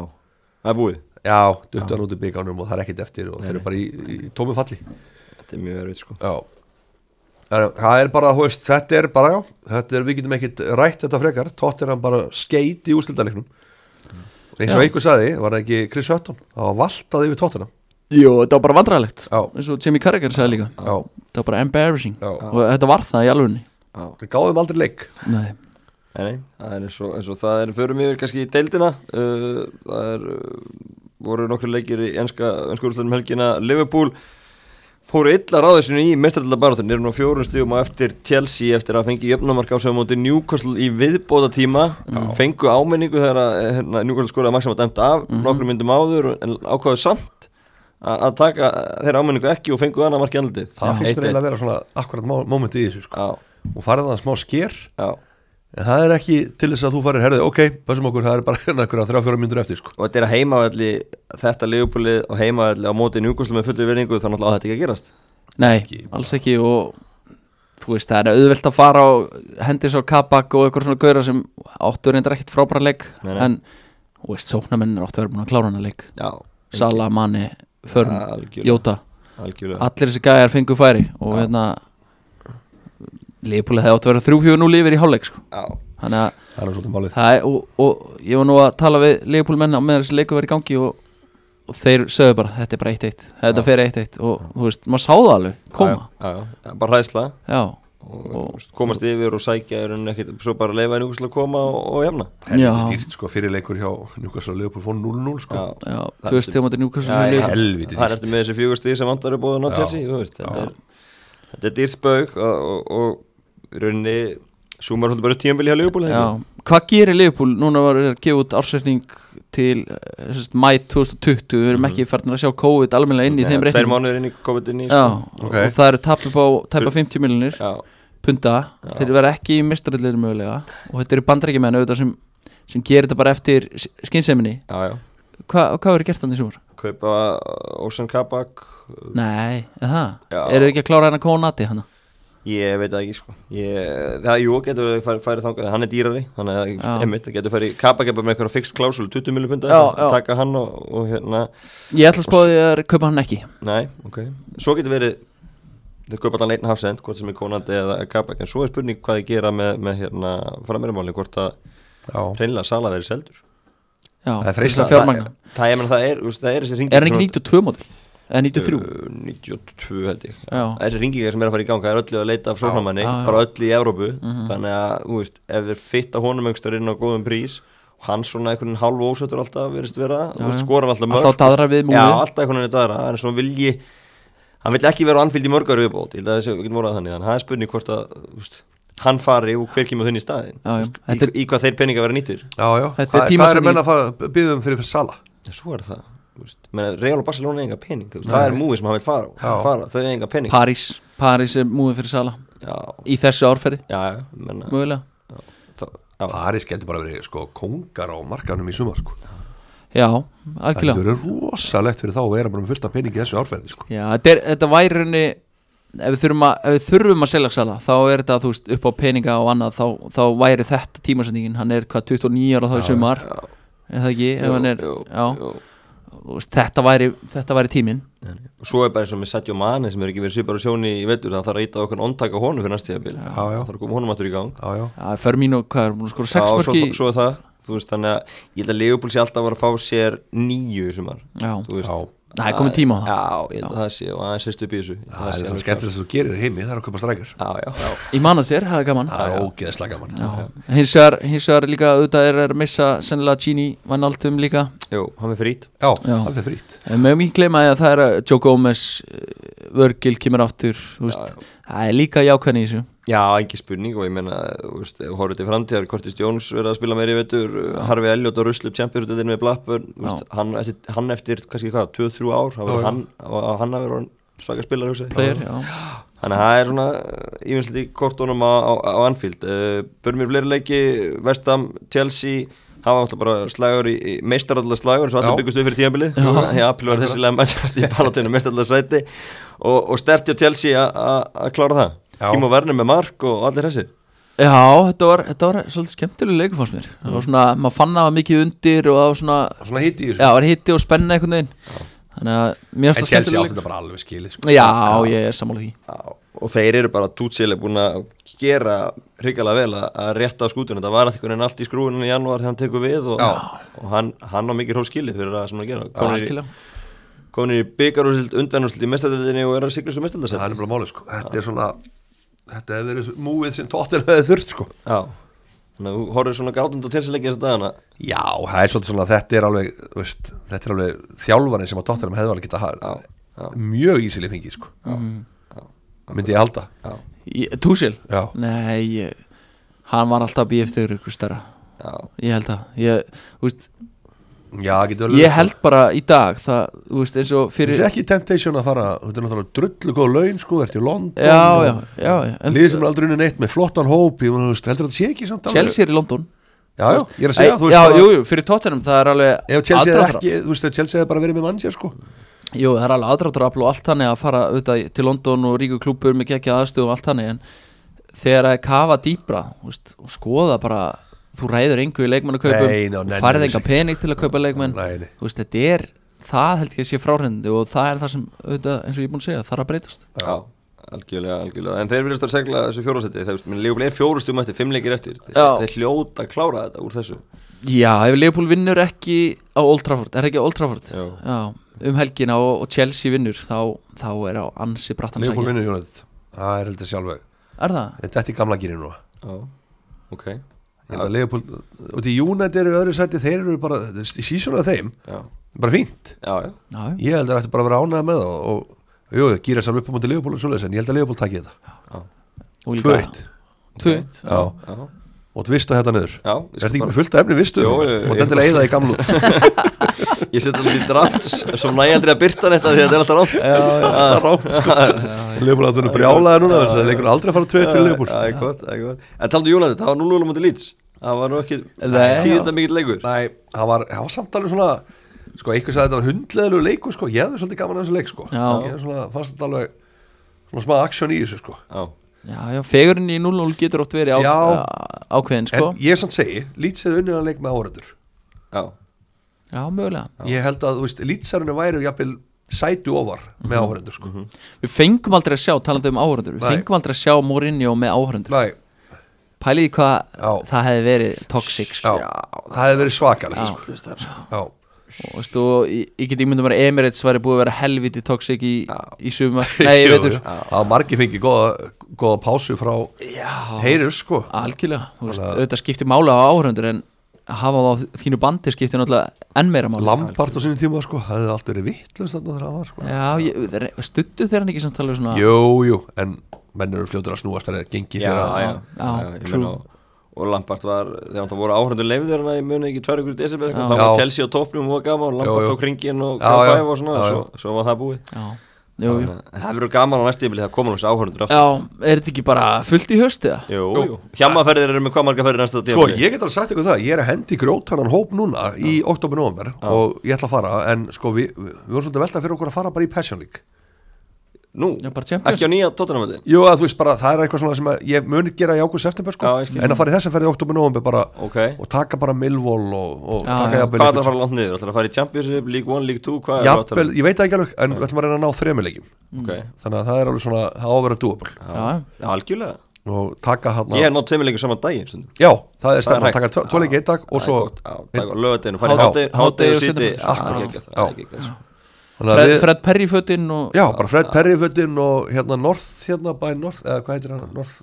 það er búið Já, duttu hann út í bygganum og það er ekkit eftir og þeir eru bara í, í tómi falli Þetta er mjög erfið sko Já En Það er bara, þú veist, þetta er bara, já, þetta er, við getum ekkit rætt þetta frekar, tótt er hann bara skeit í úslildaleiknum eins og Já. einhver saði, var það ekki Chris Hutton, það var valtaði yfir tóttina Jú, þetta var bara vandræðalegt Já. eins og Jimmy Carragher sagði líka Já, þetta var bara embarrassing Já. og þetta var það í alvunni Já við gáðum aldrei leik Nei. Nei, nei, það er eins og, eins og það er förum yfir kannski í deildina uh, það er, uh, voru nokkru leikir í enska, enska úrslutum helgina Liverpool fóru illa ráðisinu í mestardalda barátunni, eru nú fjórun stíðum á eftir Chelsea eftir að fengi jöfnumark á sem móti Newcastle í viðbóta tíma fengu ámenningu þegar að hérna, Newcastle skoraði maksam að dæmt af, nokkru myndum áður en ákvaðu samt a- að taka þeirra ámenningu ekki og fengu annað mark í andlitið. það finnst mér 1-1. eiginlega að vera svona akkurat mó- moment í þessu sko. Já, og farið það smá sker já en það er ekki til þess að þú farir herðið, ok, bæsum okkur, það er bara hérna einhverja þrjá fjóra mínútur eftir sko. og þetta er að heimavalli þetta liðupúlið og heimavalli á móti njúkoslu með fullu verðingu þá náttúrulega á þetta ekki að gerast Nei, alls ekki og þú veist það er auðvelt að fara og hendis á kabak og eitthvað svona gauðra sem áttu reyndar ekkit frábæra leik Nei, nei. en þú veist sóknamenn er áttu að vera búin að klára hana leik já, Sala, Manni, Förn, Ja, algjörlega. Jóta algjörlega allir þessi gæjar fengu færi og hérna Leipúlega það áttu að vera 3-4-0 yfir í hálfleik sko. já, þannig að það er nú svolítið málið Það er, og, og ég var nú að tala við Leopold menna á meðan þessi leiku verið í gangi og, og þeir sögðu bara, þetta er bara 1-1 þetta fer 1-1 og þú veist, maður sá það alveg koma, já, já, já, bara hræðsla já, og, og komast yfir og sækja er hann ekkit, svo bara leifa njúkoslu að koma og, og jafna Já. helviti dýrt sko, fyrirleikur hjá Newcastle og Liverpool fór 0-0 sko, já, já, tvö stíðum átti Já, njúkvæmstum já. helviti það er dýrt eftir með þessi fjögur stíð sem vandar er búin á Já. Chelsea þú veist, þetta, er, þetta er dýrt spög og, og, og í rauninni súmar svolítið bara tíðanbili hjá liðupúlið já, hvað gerir Leopold núna var er að gefa út ársreikning til eh, sem sagt, mæ 2020 við erum ekki færðin að sjá COVID almennilega inn í þeim Mhm. tveir reikning mánuður inn í COVID-19 sko. já, sko. Ok. og það eru tap upp á tæpa 50 miljonir já, punta, þeir vera ekki í mistrallir mögulega og þetta eru bandarækjumenn auðvitað sem, sem gerir þetta bara eftir skinseminni já, já. Hva, hvað verður gert hann í sumar? kaupa Ósan Kabak Uh. Nei, er það? Já. Eru ekki að klára hérna hann að kóna nati hann? Ég veit það ekki sko ég, Það jú, getur verið færi, færi þangað Hann er dýrari, hann er Já. einmitt Það getur færi kappakepa með eitthvað fix klásul 20 milli punda, Já, já. taka hann og, og hérna Ég ætla að spáði að kaupa hann ekki Nei, ok Svo getur verið, þau kaupa allan einn hafsend Hvort sem er konandi eða kappakep En svo er spurning hvað þið gera með, með hérna Frameyrumáli, hvort að Já. hreinlega sala verið seldur Já, Það er freistandi. til þess að fjármagna Það, það, ég meina, það, er, þú veist, það er þessi ringing Er hann ekki 92 mótil? Eða 93? 92 held ég Já. Þessi ringingar sem er að fara í ganga er öllu að leita af sóknarmanni, Já, Mhm. já. bara öllu í Evrópu þannig að, þú veist, ef þeir fitta honum einhverstaður inn á góðum prís hann svona einhvern veginn hálf ósötur alltaf verist vera, Já, þú veist, já. skorar alltaf mörg Alltaf daðrar við múlið. Já, alltaf einhvern veginn daðra, en svona vilji hann vil ekki vera á anfyldi mörgar viðbót, ég held að þessi við getum orðað þannig, þannig að það er spurning hvort að þú veist, hann fari og hver kemur þinn í staðin Já, já. Í, Þetta er- í hvað þeir peninga vera nýttir Já, já, Þetta er hvað, tíma hvað sem er menn ég- að fara býðum fyrir fyrir sala? en svo er það, þú veist, menn Real og Barcelona er enga pening, þú veist, það er múið sem hann vil fara, á, Já. fara þau er enga Uh, pening París, París er múið fyrir Sala Já, í þessu árferði, já, menna mögulega það, já, Paris getur bara verið sko kongar á markanum í sumar sko. Já, Það getur algjörlega verið rosalegt fyrir þá að vera bara með fullt af peningi í þessu árferði sko. Já, þetta, er, þetta væri raunni ef við þurfum að, ef við þurfum að selja Sala þá er þetta, þú veist, upp á peninga og annað þá, þá væri þetta tímasendingin hann er hvað 29 ára þá í sumar er það ekki, ef hann er já, já. þú veist, þetta væri, þetta væri tímin og svo er bara eins og með Sadio Mane sem er ekki verið svipar og sjóni í vetur það þarf að íta okkur ondtaka honum fyrir næstíðabil Já, já. það þarf að koma honum aftur í gang Já, já, Já, Fermín og hvað er, hún skora Já, 6 mörg í svo, svo er það, þú veist, þannig að ég held að Leopold sé alltaf að fara að fá sér nýju í sumar, Já, þú veist já. það er komið tíma á það Já, ég held að það sé og aðeins sérst upp í þessu Ég held Það er sé það alveg skemmtilegst að þú gerir heimi, það er að köpa strækjur klart. Já, já, já, Ég man að þér, það er gaman Það er ógeðslega gaman Já. Hins vegar, hins vegar líka auðvitað er er að missa sennilega Gini Vanaldum um líka jú, hann er frýtt Já, Já. það er frýtt En Megum ekki gleyma því að það er að Joe Gomez eh, Virgil kemur aftur þú veist, Það er líka jákvæðin í þessu Já, ekki spurning og ég meina, þú veist, ef við horfum til framtíðar Kortis Jones verið að spila meiri í vetur Harfi Elliot og Ruslup Champions þetta er með Blackburn, þú veist, hann eftir, hann eftir kannski hvað, 2-3 ár, hann, Já, já. verður hann, að hann að vera orðinn svaka spilar Player, já. Þannig að það er svona ívinslið í kortónum á, á, á Anfield uh, Börum mér fleiri leiki, Vestam, Chelsea Það var alltaf bara slagur í, í meistarallega slagur eins og Já. allir byggustu fyrir tíðanbilið Já, apil var þessilega mætast í balotinu meistarallega sæti og, og sterti á Chelsea a- a- að klára það Já. Tímo Werner með mark og allir þessi já, þetta var, þetta var svolítið skemmtilega leikur fannst mér Það var svona, maður fann að það var mikið undir og það var svona, Það er svona hitt í já, þessu það var hitti og spenna einhvern veginn Þannig að mér En finnst það Chelsea skemmtilega átti þetta bara alveg skilið sko. leikur Já, ég er sammála því Já, og þeir eru bara tútsileg búin að gera hrikalega vel að, að rétta á skútunum þetta var eitthvað en allt í skrúinu í janúar þegar hann tekur við og, og hann, hann á mikið hróskilið fyrir það sem hann gera Komnir í- Algjörlega. komin í byggarúsild undanúsild í mestardöldinni og er að sigla svo Það mestardöldasett er nefnilega máli sko. Þetta er svona Þetta hefur verið múið sem tóttir hefði þurft sko. Já Þannig að þú horfir svona grátund og tilsilegja þess að dagana Já, það er svolítið svona Þetta er alveg, þú veist, þetta er alveg þjálfari sem að tóttir hefði alveg geta Já, já. mjög ísileg fengið sko. Mm. myndi ég halda Já, Ég- Tuchel? Já. Nei, ég, hann var alltaf að býja eftir ykkur stærra já, Ég held að ég, þú veist, Já, getur alveg- ég held bara í dag það, þú veist, eins og fyrir Þetta er ekki temptation að fara Þetta er náttúrulega drullu góð laun sko, Þetta er London Já, og- já, já, já en- Liðið sem er aldrei unni neitt með flottan hóp Ég meina, þú veist, heldur þetta sé ekki samt alveg- Chelsea er í London Já, já, ég er að segja Ei, þú Já, bara- jú, jú, fyrir Tottenham það er alveg Ef Chelsea er aðdráttarafl. ekki, þú veist, ef Chelsea er bara verið með mannsja sko Jú, það er alveg aðdráttarafl og allt þannig að fara auðvitað til London og ríku klúpur með gekkja aðstöð og allt þannig en þegar að kafa dýbra veist, og skoða bara þú ræður engu í Nei, ná, leikmannaköpum nei, og nei, færð nei, enga nei, pening til að kaupa leikmann Nei, nei. þú veist, þetta er, það held ég að sé fráhrindi og það er það sem, auðvitað, eins og ég er búin að segja þarf að breytast já, algjörlega, algjörlega En þeir vilja að segla þessu fjórasetti Þeir minn Leopold er fjórustum eftir, fimm leikir eftir þeir, Já. þeir hljóta að klára þetta úr þessu Já, ef Leopold vinnur ekki á Old Trafford, er ekki á Old Trafford Já. um helgina og, og Chelsea vinnur þá, þá er á ansi brattan Leopold sækja vinnur Jónat Það er heldur sjálfveg Er það? Þetta er þetta í gamla gýrin núna Já, ok Ég held að Leopold Og því Jónat eru í öðru sæti Þeir eru bara Í sísónu af þeim Já, Bara fínt já, já Já, já. Ég held að þetta bara að vera ánægð með það og- Og jú, það gýra saman upp á móti Leopold og svoleiðis En ég held að Leopold takki þetta Og líka- 2-1 Tvöitt Já Já, Og tvista þetta niður já ég Er þetta skal ekki bara- með fullt af efni vistu? Jó, jú, jú. Og þetta er leiða í gamlu Ég setja alveg í drafts Svo næ ég aldrei að byrta þetta því að þetta er alltaf rátt Já, já, já Rátt sko Leopold að þetta er brjálaði núna Þannig að leikur aldrei að fara 2 til Leopold Það er gott, það er gott En taldu Júlandi, það var 0-0 á móti Leeds Það var nú ekki Nei. tíðinda mikill leikur Nei, það var, það var samt alveg svona sko, einhver sagði að þetta var hundleðilegu leikur sko, ég hefði svolítið gaman að þessu leik sko Já. ég er svona, fannst þetta alveg svona smá aksjón í þessu sko Já, Já, já, fegurinn í 0-0 getur oft verið á, Já. ákveðin sko en ég samt segi, Leeds hefði unnið að leik með áhörður já Já, mögulega ég held að, þú veist, Leedsarunni væri jafnvel sætu ofar með áhörður sko Við fengum aldrei að sjá, talandi um áhörundur Við Nei. fengum aldrei að sjá Mourinho með áhörundur Nei, Pæliði hvað Já. það hefði verið toxic já, sko. það hefði verið svakalegt sko. já, og veistu, og ég, ég get ímyndum að Emirates væri búið að vera helviti toxic í, í sumar Nei, ég Jú, veitur jú. það var margi fengið góða, góða pásu frá heyrir sko Algjörlega, þú veist, auðvitað skiptir mála á áhörundur en að hafa það á þínu bandi skiptir náttúrulega enn meira máli Lampart á sinni tíma sko, hefði allt verið vittlust þarna þegar hann var sko Já, ég- þeir- studdu þeir hann ekki samt alveg svona Jú, jú, en menn eru fljótur að snúast þegar það gengi fyrir að já, Já, ég true. meina, og- og Lampart var, þegar það voru áhrandur leifður hana, ég muni ekki tvær ykkur í desember Já. þá var Já. Kelsey á topnum og var gaman, Lampart Jú, jú. tók ringin og Já, gaf já. fæf og svona, Já, já. svo, svo var það búið Já, jú, jú En það verður gaman á næstu yfirli það koma hans áhrandur aftur Já, er þetta ekki bara fullt í höstu það? Jú, Jú. jú, hjamaferðir eru með hvað marga ferðir næsta Sko, tímabili? ég get alveg sagt ykkur það, ég er að hendi grjótannan hóp núna í oktober-november og ég ætla að fara, en sko, við, við vorum svolítið að velta fyrir okkur að fara bara í Passion League Nú, Já, bara Champions. ekki á nýja tóttunarmöldin Jú, að þú veist bara, það er eitthvað svona sem að ég mun gera í águst eftir sko, Já, ég skil. en að fara í þess að ferði oktober-november bara Ok, og taka bara Millwall og, og Já, hvað er taka já. það að jafnvel fara langt niður? Það er að fara í Championship, League 1, League 2, hvað er jafnvel, ég veit það ekki alveg, en við ætlum að reyna að ná þremulegjum okay. þannig að það er alveg svona, það á að vera dúaböl Já, Já, algjörlega og taka hann Ég hef nátt tveimilegur saman daginn stundum. já, það er stefna, hægt. taka tvo- tvo leiki einn dag og Það er svo, gott. Já, það er gott. Lögadeginu, farið hátegi, Hádegi- hátegi hádegi og og síti seinni- Það er Akkurat. geggjað, það Já. er geggjað sko. þannig að Fred, við Fred Perry fötinn og já, bara Fred Perryfötin og hérna North, hérna, bæ North eða hvað heitir hann, North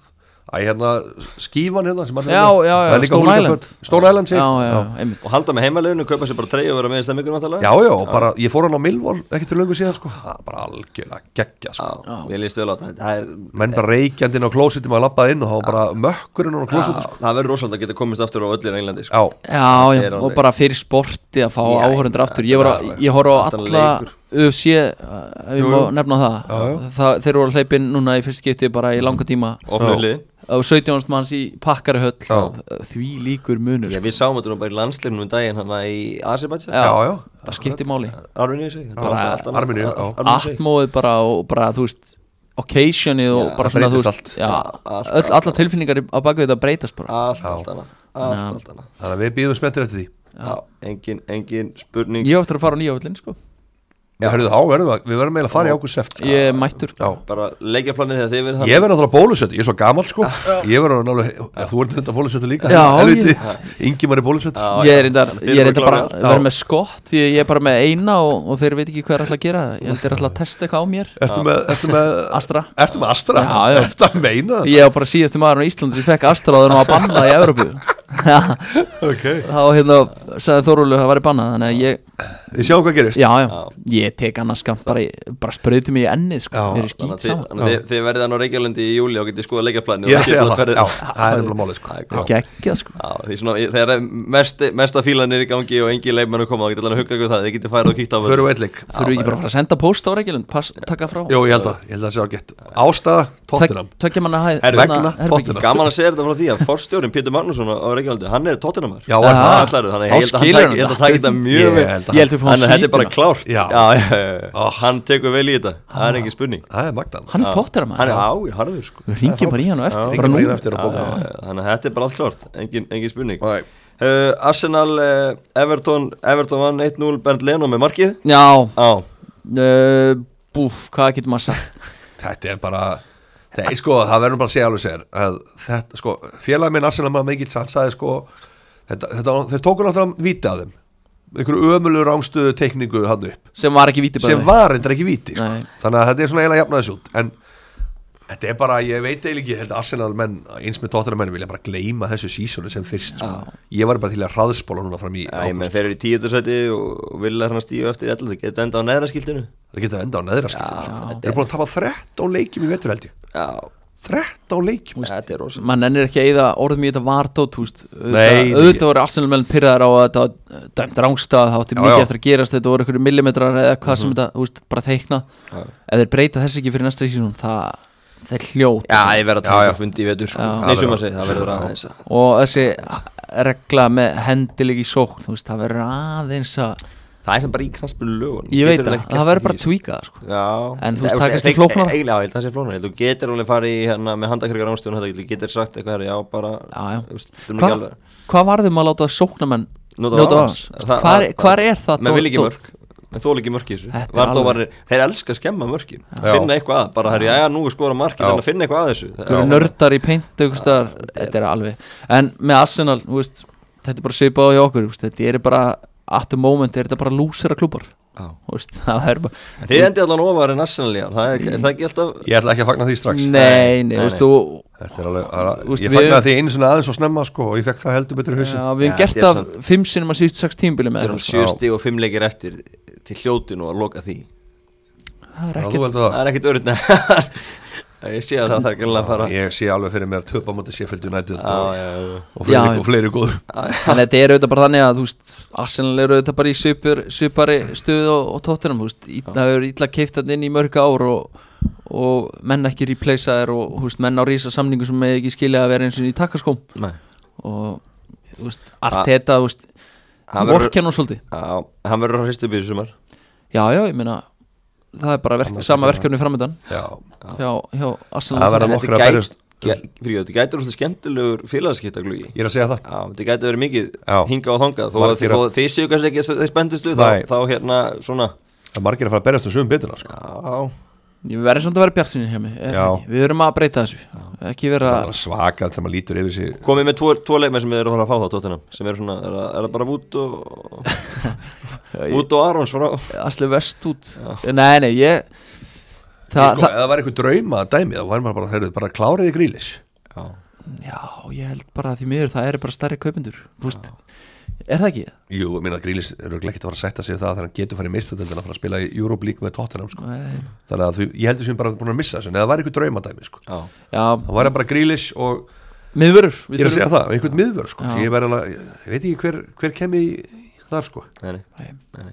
Æ, hérna, skífan hérna sem allir Já, hérna. já, já, Það er líka Stone húlíkaföt. Stone Island, sí. Já, já, einmitt Og halda með heimaliðinu, kaupa sér bara treyja og vera með í stemmingunum já, vantarlega já, og bara, ég fór hann á Milvól ekki til löngu síðan, sko, það er bara algjörlega geggja, sko, Ég líst vel á þetta Það er menn bara reykjandi inn á klósitum að lappa inn og þá bara mökkurinn á klósitum, sko, Það verður rosalega að geta komist aftur á öllir Englandi sko. já, Já, Það já, er og alveg- bara fyrir sporti að fá Já, áhörundur aftur Ég, var, þetta er að- ég horf á þetta er alla leikur. UFC, ef ég má nefna það. það Þeir voru hleypin núna í fyrst skipti bara í langa tíma Opnuðu liðin og 17. manns í pakkarhöll því líkur munur Já, sko. Við sáum þetta nú bara í landsleifnum um daginn hana í Asibatja Já, já, já, það skiptir máli Arminíu sig Já, Armeníu, já. atmóið bara og bara þú veist occasionið og Já, bara það svona þú breytist veist já, allt, öll, allar tilfinningar á baki þetta breytast bara Allt, Já. allt annað Allt, Já. allt annað þannig að við býðum spenntir eftir því Já, Engin, engin spurning ég á eftir að fara á nýja völlin sko Já, hörðu þá, verðum við, við verðum eiginlega að fara í águst seft Já, ég er mættur ég Bara leggja planið þegar þið verið verð náttúrulega bólusettur, ég er svo gamall sko Ég verð náttúrulega, ja, þú ert þetta bólusettur líka Já, helviti. ég- Ingi maður er bólusettur Já, ég já. er reyndar, Þið ég er eru reyndar bara klárir að allt. vera með skott því ég er bara með eina og, og þeir veit ekki hvað er alltaf að gera ég heldur alltaf að testa eitthvað á mér Ertu með, ertu með Astra Ertu með Astra? Já, já. Ertu að meina þetta? ég var bara síðasti maður á Íslandi sem fekk astraðan og að banna í Evrópu Ok, þá hérna sagði Þorúlu að væri bannað þannig að ég við sjáum hvað gerist já, já, ég tek annars skamt bara, í- bara sprauti mig í ennið sko, Já, mér Þannig er skýt að þið- þannig að þið- þið verðið hann á Reykjavlundi í júli og getið skoða leggjarplanið Ég er að segja það, já, það er nefnilega málið sko Já. geggja sko Já, því svona, þegar mest, mesta fílan er í gangi og engi leifmenn er koma, þá getið alveg að hugga ykkur það, þið getið færið og kíkt á Förum við eitleik þurfum við ekki bara að fara að senda post á regjulun pass, taka frá Jó, ég held að, ég held að það sé ágætt Ástæða, tóttinam tökja manna hæð Herru, hérna, vegna herbergi. Tottenham. Gaman að segja þetta frá því að forstjórin Pétur Magnússon á Reykjavlundi, hann er tóttinamar Já, Já. það Þannig að Þá ég held að hann taki- ég held skilur hann að það. taki þetta mjög Ég vel held að- ég held við fáum Þannig að þetta er bara svítina. klárt Já. já, já, já. Hann tekur vel í þetta, það er ekki spurning Það er magnan hann er tóttir að Hann maður er á, ég harður sko við ringjum bara í hann og Já. eftir bara Ringum nú við eftir að Já, bóka já, já. Þannig að þetta er bara allt klárt, engin, engin spurning Nei. uh, Arsenal, uh, Everton Everton vann 1-0 Bernd Leno með markið já, Já, uh, búf, hvað getur maður sagt Þetta er bara Nei, sko, það verður bara að segja alveg sér að þetta, sko, félag minn Arsenal maður mikill hann sagði, sko þetta, þetta, þeir tóku náttúrulega víti að þeim einhverju ömulu rángstöðu teikningu hann upp sem var ekki viti sem var endur ekki víti, sko Nei. þannig að þetta er svona eiginlega jafnaðis út en þetta er bara, ég veit eiginlega ekki þetta Arsenal menn, eins með tóttunum menn vilja bara gleyma þessu sísonu sem fyrst sko. ég var bara til að hraðspóla núna fram í Já, ég með ágúst, þeir eru í tíundasæti og vilja hann að stíu eftir ætla, það geta enda á neðra skildinu það getur enda á neðra skiptum sko. þeir eru búin að tapa 13 leikjum í vetur held ég Já, 13 leikjum þetta er rosa mann ennir ekki að eyða orðum í þetta vardót húst Nei, auðvitað voru Arsenal menn pyrraðar á að þetta var dæmt rángstað, það átti Já, mikið já. eftir að gerast þetta voru einhverju millimetrar eða hvað Mhm. sem þetta þú veist, bara teikna, ef þeir breyta þess ekki fyrir næsta sísón, það það er hljót Já, ég verð að Já, taka já. fundi í vetur sko. Já. Nei, sem að segja, það verður aðeins að og þessi regla með hendileg í sókn, þú veist, það verður aðeins að Það er sem bara í kransbunni lögun ég veit það, það verður bara að tweaka það, sko. Já En þú veist, Nei, e- það er kannski flóknara. Eiginlega, já, ég held að það sé flóknara Ég held, Þú getur alveg farið í hérna með handakryggar ánstöðun Þetta þú getur sagt eitthvað, herra, já, bara Já, já. þú veist, þetta er nú Hva- ekki alveg- hvað varðum að láta sóknamenn Nota vafans? vafans. Það- Hvar- það- hvar er það Menn dót- vil ekki dót? mörg Menn þól ekki mörg í þessu Þetta er Vardóvarir, þeir elska að skemma mörgin Já. Finna eitthvað að, bara herri, já, já, nú er skora markið Já. Þannig að finna eitthvað að þessu Þú eru nördar í peint einhvers staðar, Þetta er alveg En með Arsenal, þú veist, þetta er bara svipað á hjá okkur þú veist, Þetta er bara, at the moment er þetta bara lúsera klúpar Já. Þú veist, það er bara Þið endi allan ofar en Arsenal í ár, það er, er það ekki alltaf Ég ætla ekki að fagna því strax Nei, nei, Nei, þú nei. veist, þú Þetta er alveg, það er- Þú veist, ég við- fagnaði því einu svona aðeins og snemma sko og ég fekk það heldur betur í hausin Já, við Já, hefum gert ég það samt. fimm sinnum að síðust sex tímbili með Þeir eru þessu sjö stíg og fimm leikir eftir til hljóti nú að loka því Það Já, er þú ekkert heldur Það er ekkert örðna Ég sé að það það er gæmlega að fara það Ég sé alveg fyrir mér að töpa mútið Sheffield United Já, og, já, já. og, Já, fleiri, já. og fleiri góð Þannig að þetta er auðvitað bara þannig að þú veist Arsenal eru auðvitað bara í svipur, svipari stöðu og, og tóttunum veist, í, Það eru illa keift hann inn í mörg ár og, og menn ekki replaceaðir og þú veist, menn á rísa samningu sem með ekki skilja að vera eins og í takkaskóm Nei. og þú veist, allt þetta þú veist, Hann verður- vorkenn og svolítið Já, Hann verður að hristu byrju sumar Já, já, ég meina það er bara verk, sama verkefni framöndan Já, hjá, hjá Arsenal það verða En nokkra þetta að gæ- berjast gæ- fyrir þetta gætur úrslega skemmtilegur félagskiptaglugi Ég er að segja það Já, þetta gæti verið mikið Já. hinga og þangað þó að Margir þið, að- þó að þið séu kannski ekki þeir spendustu þá, Nei. þá hérna svona Það er margir að fara að berjast um sögum betur sko. Já, Ég verði samt að vera bjart sinni hjá mig er Já. það ekki? Við verum að breyta þessu Ekki vera Það er svaka þegar maður lítur yfir sig komið með tvo, tvo leikmenn sem þið eru að fara að fá þá tóttunum sem eru svona, er það- er það bara Wood og Wood og Arons frá Asli vest út Nei, nei, ég Ég sko, Þa, það, Eða það var einhver drauma að dæmi þá var maður bara, heyrðu, bara kláriði grílis Já, Já, ég held bara að því miður Það eru bara stærri kaupendur Þú veist Er það ekki? Jú, ég meina grílis eru örugglega ekkert að fara að setja sig í það þegar hann getur farið mistatöldin að fara að spila í Europe League með Tottenham sko. Nei. Þannig að því, ég heldur sem bara búin að missa þessu en eða það var einhver draumadæmi sko. já, Já, Það var bara grílis og miðvörur ég er að segja það, einhvern miðvör sko. Já. ég, verð alveg, ég veit ekki hver, hver kemi þar sko. nei, nei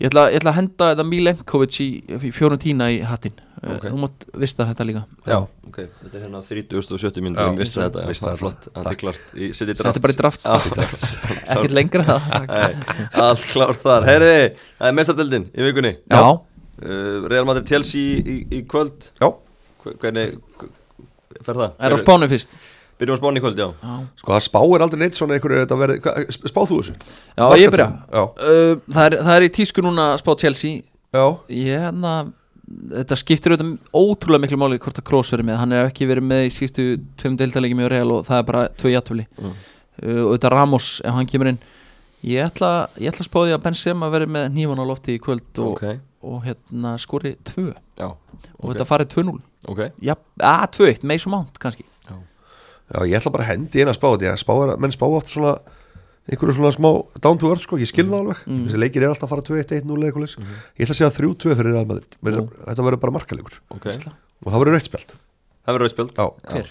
ég ætla, ég ætla að henda þetta Milenkovic í fjórun tína í hattin Ok. Þú mátt vista þetta líka Já, Ok, þetta er hérna 30.70 minn Já, Ég misti þetta, já, misti það er þetta. flott Það er Takk. klart, ég seti draft Þetta er bara í draft Já, Ekkert lengra það Eh, Nei, Allt klart þar, herði Það er mestardeldin í vikunni Já, uh, Real Madrid Chelsea í, í, í kvöld já, Hve- Hvernig, hver fer það? er á spánu fyrst Byrjum á spáni í kvöld, já Já, sko það spáir aldrei neitt svona einhverju þetta verið, hva- spáð þú þessu? já ég byrja Já, Uh, það, er, það er í tísku núna að spá Chelsea já, ég hérna þetta skiptir auðvitað ótrúlega miklu máli hvort að Kroos verið með, hann er ekki verið með í sístu tveim deildarleikjum í Real og það er bara tvö jættöfli Mm. uh, og þetta Ramos ef hann kemur inn ég ætla, ég ætla að spá því að Benzema verið með nýman á lofti í kvöld og, Ok, og hérna skori 2 og já, Ok. þetta farið 2-0 ok ja, að 2-1, meis og mánt kannski já, ég ætla bara að hendi eina spáð því að spáir, menn spá aftur svona einhverju svona smá down to earth sko, ég skil það alveg Mm. Mhm. þessi leikir er alltaf að fara 2-1-1-0 eitthvað leis ég ætla að segja 3-2 fyrir Real Madrid Mér er- þetta verður bara markalegur Ok, Veistla. og það verður rauðspjald það verður auðspjöld já, hver?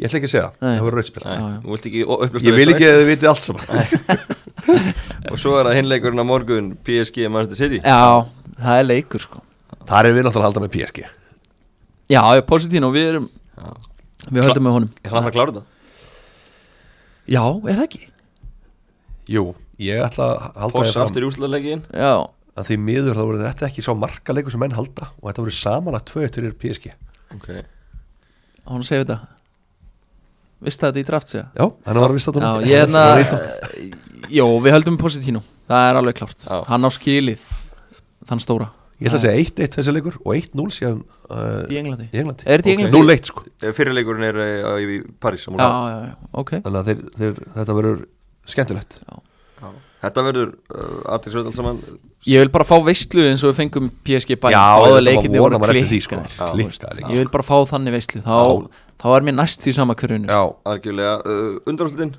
ég ætla ekki að segja, Nei. það verður rauðspjald Já, já. Þú vilt ekki upplösta ég vil ekki að þið vitið allt saman Og svo er það hinleikurinn á morgun PSG Manchester City já, það er leikur sko þar er við náttúrulega að halda með PSG já, ég er positín og við erum Já. við höldum með honum Er hann að fara að klára þetta? já, er það ekki? Jú, ég ætla að halda Foss þér fram aftur í úslaðlegin já, að því miður þá voru þetta ekki sá markaleikur sem menn halda og þetta voru samanlagt tvö eftir er PSG Já, Ok, á hann að segja þetta Vist það þetta í draft segja? þannig var að vista Já, þetta ég hérna Jó, við höldum Positino Það er alveg klárt Já. Hann á skilið Þann stóra Ég ætla að segja 1-1 þessi leikur og 1-0 síðan uh, Í Englandi í Englandi Er þetta í Ok. Englandi? 0-1 sko fyrirleikurinn er eh, á- í París á Já, morgun. já, já, ok Þannig að þeir, þeir, þetta verður skemmtilegt Já. Þetta verður uh, aðtilsveit alls saman Ég vil bara fá veistlu eins og við fengum PSG bæn Já, þetta var leikinni vona voru maður eftir því, sko. klikkaðir Já, þú veist. klikkaðir, já. Ég vil bara fá þannig veistlu Þá, þá er mér næst því sama hverjunu Já, algjörlega uh, undanúrslutin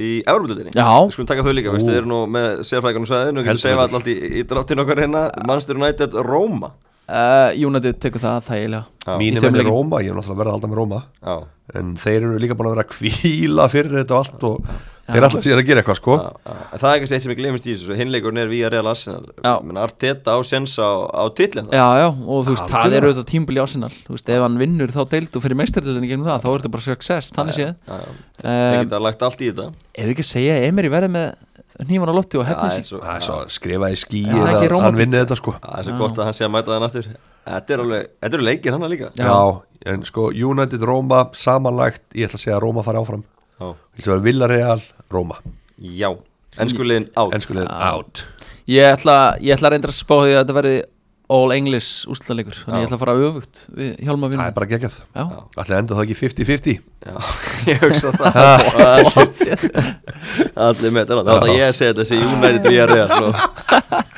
í Evropadeildinni Já. Við skulum taka þau líka, veist, Ú. þið eru nú með sérfræðingarnum sæðin og getur Heldur sefa betur. allt í, í dráttin okkar hérna Manchester United Roma uh, United tekur það þægilega Já. Í mínum tveim enn er leikjum. Róma, ég er náttúrulega að verða að halda með Róma Já, en þeir eru líka búin að vera að kvíla fyrir þetta og allt og þeir alltaf síðan að gera eitthvað sko já, já. En það er kannski eitt sem ég glemist í þessu hinleikurinn er via Real Arsenal Já. Men Arteta á sensa á, á titlinn Já, já, og þú veist, það Algjörlega. er auðvitað tímbili ásinnal Þú veist, ef hann vinnur þá deildu fyrir meistardildinni gegnum það, þá er þetta bara success, þannig séð Já, já. Þeir Um, geta lagt allt í þetta Ef við ekki að segja að Emery verði með nýman á lofti og hefnir er sín svo, Það er svo að skrifa í skýin Já, að ekki hann rómantík. vinni þetta sko það er svo gott að hann sé að mæta þann aftur Þetta er alveg, þetta eru leikir hann líka Já. Já. en sko United, Róma, samanlagt ég ætla að segja að Róma fari áfram Já, Þetta var Villareal, Róma já. enskulegin átt Enskulegin out Ég ætla, ég ætla að reynda að spá því að þetta verði All English úrslalegur Þannig ég ætla að fara öfugt við Hjálma Það er vinnum bara geggjað Já, Ætla að enda það ekki 50-50 Já, ég hugsa það allir, allir með þetta Það er það ég að segja þetta sem United við erum sko.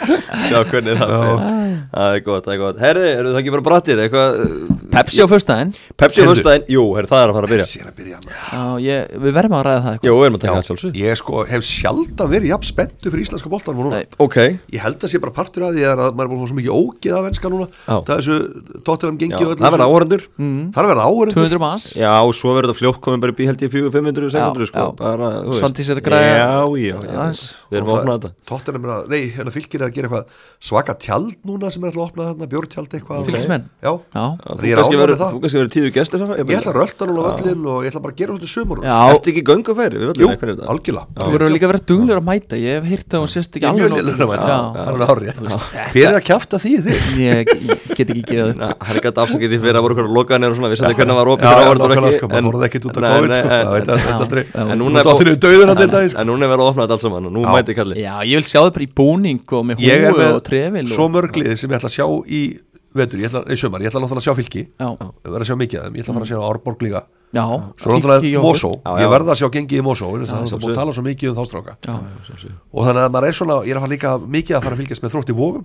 Sjá hvernig það Já. fyrir Það er gott, það er gott Herði, eru það ekki bara brattir? Eitthvað uh, Pepsi á föstudaginn Pepsi á Heyrðu. höstæðin? Jú, herri, það er að fara að byrja Sér að byrja maður. Já, ég, við verðum að ræða það Jú, eitthvað við erum að taka það Já, sjálfsög ég sko hef sjaldan verið jafn spenntu fyrir íslenska boltan núna Nei. Ok Ég held að sé bara partur að því að maður er búin að fá svo mikið ógeð af enska núna Já. Það er þessu tóttirum Já, gengi og öllu Það verða þessu. áhörendur Mm. Það er að verða áhörendur 200 manns Já, og svo verður þetta fljótt komin bara upp í held ég 400, 500, 600 Já, sko, já. bara, þú veist. Svanti sér að græja Já, já, já, aðeins. við erum að opna þetta Tóttirum er að, nei, hérna fylgir er að gera eitthvað svaka tjald núna sem er alltaf að opna þarna, bjórtjald eitthvað Fylkismenn? Já, Já, Þú Ég er kannski ánægður með verður- það. þú kannski verður tíðu gestir þarna, Ég ætla að bara- rölda núna völlin og ég ætla bara að gera þetta sumur já Ertu ekki göngufæri við Jú, völlin, eitthvað er þetta? algjörlega þú verður líka verið duglegur að mæta Ég hef heyrt það og sérst ekki Ég er mjög alveg lélegur nóg. að mæta. Já. Það er alveg hárið Hver er að kjafta því þig? Ég ég get ekki gefið upp Na, hann er gæti afsakið sér fyrir að voru hverju lokaðanir og svona, við sættum hvernig það var opið Já, þegar já, áhorfendur nákvæmlega, ekki, sko, maður en- þorði ekkert út að Nei, COVID, nei, en- sko, það veit að- en- þetta aldrei- Já. en Þú núna er dottir bú- niður dauður þarna í dag, en- sko. en núna er verið að opna þetta allt saman og nú Já. mæti kalli Já, ég vil sjá þau bara í búning og með Ég er húu með og trefil svo og, mörglið sem ég ætla að sjá í vetur, ég ætla, nei, sumar, ég ætla náttúrulega að sjá fylki Já, Ég verð að sjá mikið af þeim, ég ætla að fara Mm. að sjá Árborg líka já Svo kíkja náttúrulega á Mosó, Já, já. ég verð að sjá gengið í Mosó vegna þess að Það er búin sjálfsögðu. að tala svo mikið um þá stráka Já, Og þannig að maður er svona, ég er að fara líka mikið að fara að fylgjast með þrótt í vógum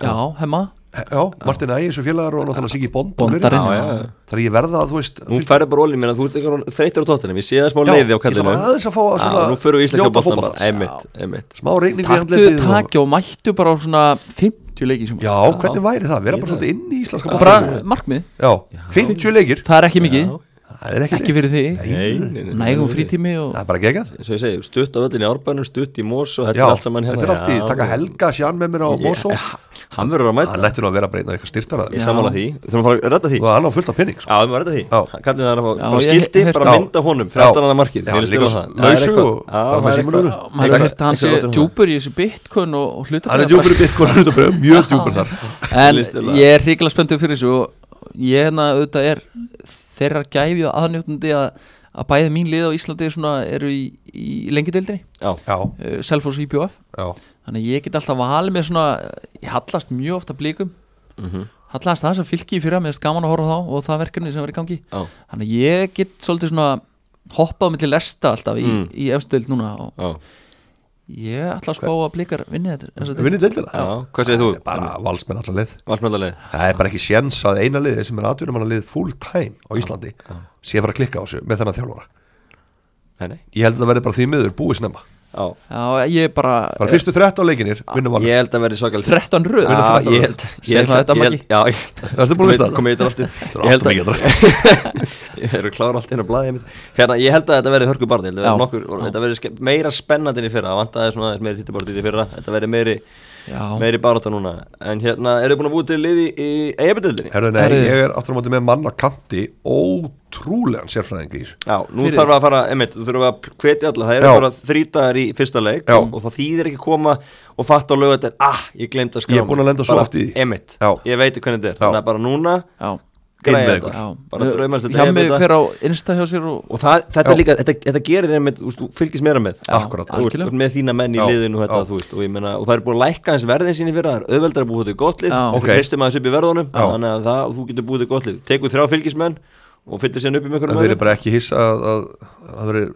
já, hemma Já, Martin Ægis og félagar og náttúrulega Siggi Bond og fleiri. Bondarinn Já, já, já. já. Þannig að ég verða að þú veist nú færði bara ólið mér að þú ert eitthvað þreytur á tóttunum ég sé það smá Já, leiði á ég kallinu ætla bara aðeins að fá að svona nú fyrir við íslenska njóta bóttan fótboltans. einmitt, einmitt Smá reyning í Taktu andlitið og- takja og mættu bara á svona 50 leiki sem Já, hvernig væri það? Vera bara svolítið inn í íslenska Bara boltanum. markmið, Já, 50 leikir það er ekki mikið Það er ekki, Ekki fyrir því, Nei, nei, nei, nægum nei, nei. frítími og Það er bara geggjað eins og ég segi, stutt á öllin í árbænum, stutt í mós og þetta Já, er allt saman hérna. þetta er allt í Já. Taka Helga Sján með mér á Ég- Mosó hann verður að Hann mæta, lættur nú að vera að breyna eitthvað styrtara ég Já, Já. samála því við þurfum að fara að redda því Og hann á fullt af penning sko. Já, við varum þetta Já. því Kallin það er að fá Já, bara ég skilti, heyrt- bara Já. mynda honum 13. Já. markið, Já, við erum stila líka svo það Það er lausu eitthvað. og- Já, bara með það er eitthvað. símann úr. Já, maður hefur Eitthvað- hirt að hann sé eitthvað út um það. djúpur í þessu bitcoin og hlutabréf Hann er djúpur í bitcoin hlutabréfum, Mjög djúpur þar en List er lag. ég er hrikalega spenntur fyrir þessu og ég hérna auðvitað er þeirra gæfi og aðnjóttandi að, að bæði mín lið á Íslandi svona eru í, í lengjudildinni Já, Já, uh, Selfos og IPF já þannig að ég get alltaf valið með svona ég hallast mjög ofta blikum Mhm. hallast það sem fylki í fyrra, mér finnst gaman að horfa á þá og það verkefni sem var í gangi já, þannig að ég get svolítið svona hoppað millir lesta alltaf í, Mm. í efstild núna og já ég ætla að spá að blikar vinni þetta þessa deild. Vinnið deildina Já, hvað segir þú? Bara valsmenn allar leið Valsmjöldalegi Það er bara ekki séns að eina liðið sem er aðturum hann að liðið full time á Íslandi sé að fara að klikka á þessu með þennan þjálfara Nei, nei Ég held að það verði bara því miður búið snemma Já Já, ég bara, Bara fyrstu 13 leikinir, vinnum valið Ég held að verði svakalega 13 röð Já, ég held Segðu það þetta, Maggi. Maggi Ertu búin að lista þetta? Komið eitt aftur er áttum ekki að Ég er að klára allt inn á blaði mitt Hérna, ég held að þetta verði hörku barn Já. Þetta verði ske- meira spennandi enn í fyrra Það vantaði svona aðeins meiri títibarn í fyrra Þetta verði meiri, Já, meiri barata núna En hérna, eru þið búin að búið til liði í eigabildildinni? Herðu, nei, Herðu. ég er aftur á móti með mann á kanti ótrúlegan sérfræðing í þessu Já, nú Fyrir. þarf að fara, emitt, þú þurfum að hvetja alla, það eru Já. bara þrítagar í fyrsta leik Já. og, það þýðir ekki að koma og fatta á lög þetta ah, ég glemt að skrá Ég er búinn að lenda svo oft í því. Emitt, Já. ég veit hvernig þetta er, Já. þannig að bara núna já, græja með þetta, ykkur. já bara draumast þetta þetta Hjá mig Emmett, fer á Insta hjá sér og og það, þetta Já. líka, þetta, þetta gerir emitt, þú fylgist meira með Já, Þú Akkúrat. ert- þú algjörlega. ert með þína menn í Já. liðinu og þetta, Já. þú veist, og ég meina, og það er búin að lækka eins verðin sín í fyrra, það er auðveldar að búið til gott lið, Já. þú Ókei. hristir maður þessu upp í verðunum, Já. þannig að það, þú getur búið til gott lið, tekur þrjá fylgismenn og fyllir sérna upp um í mjög Það verður bara ekki hissa að, að, að verður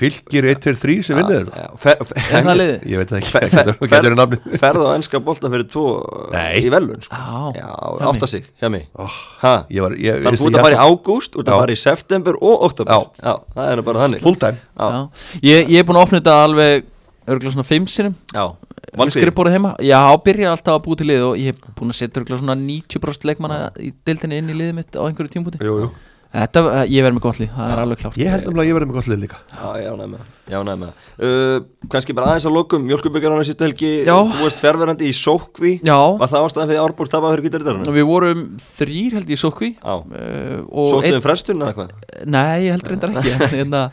fylgir 1, 2, 3 sem vinnur þetta er það liðið? Ég veit það ekki, það getur verið nafni ferð á ennska bolta fyrir tvo Nei. í velun sko. Já, já, hjá átta mig. sig hjá mig Oh, Ha? Ég var, ég, þannig að þú ert að fara í ágúst, þú ert að Já. fara í september og oktober Já. það er nú bara þannig Full time já, Já, ég, ég er búin að opna þetta alveg örgulega svona fimm sinum já. Við skrifbórið heima Já, byrja alltaf að búi til lið og ég er búin að setja örgulega svona 90% leikmanna í deildinni inn í liðið mitt á einhverju tímpúti jú, jú. Þetta, eh, ég verð með gott lið, það er alveg klárt Ég held nefnilega að ég verði með gott lið líka Já, já, næmi, já, næmi. Uh, kannski bara aðeins að lokum Mjölkubyggjarana sístu helgi, Já. þú veist færverandi í sókvi Já, var það ástæðan fyrir Árbúr tapaði fyrir kvítarittarinn? við vorum þrýr held ég sókvi Já, uh, sóttuðum frestun eða hvað? Nei, ég held reyndar ekki en hérna,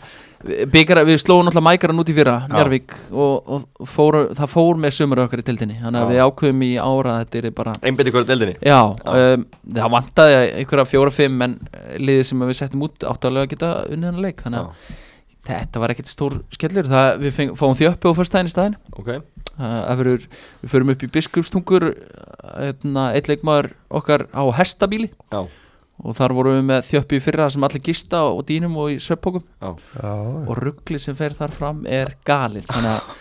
byggar, Við slóum náttúrulega mækaran út í fyrra Njárvík og, og fór, það fór með sömur okkar í tildinni þannig Já. að við ákveðum í ára að þetta er bara Einbæti hverju deldinni? Já, Um, það vantaði einhverja fjóra-fimm en eh, liðið sem við settum út áttalega að geta unnið hann leik þannig að þetta var ekkert stór skellur það, við feng, fáum þjöppi á fyrstæðin í staðin Ok, uh, fyrir, við förum upp í biskupstungur hérna, eitt leikmaður okkar á hestabíli já, og þar vorum við með þjöppi í fyrra sem allir gista á dýnum og í sveppókum já Já, og ruggli sem fer þar fram er galið þannig að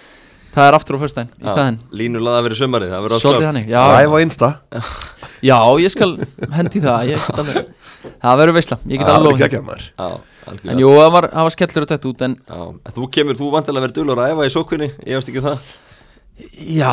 það er aftur á föstudaginn í staðinn Línu laða verið sömarið, það verður allt Svolítið klárt. þannig, Ræf já, á Insta já, ég skal hendi í það ég get alveg, Það verður veisla, ég get Það alveg verður lofið því. geggjað, maður. Já, algjörlega En jú, það var, það var skellur og tett út En Já, en þú kemur, þú vantilega verið dölur að æfa í sókunni, ég veist ekki um það Já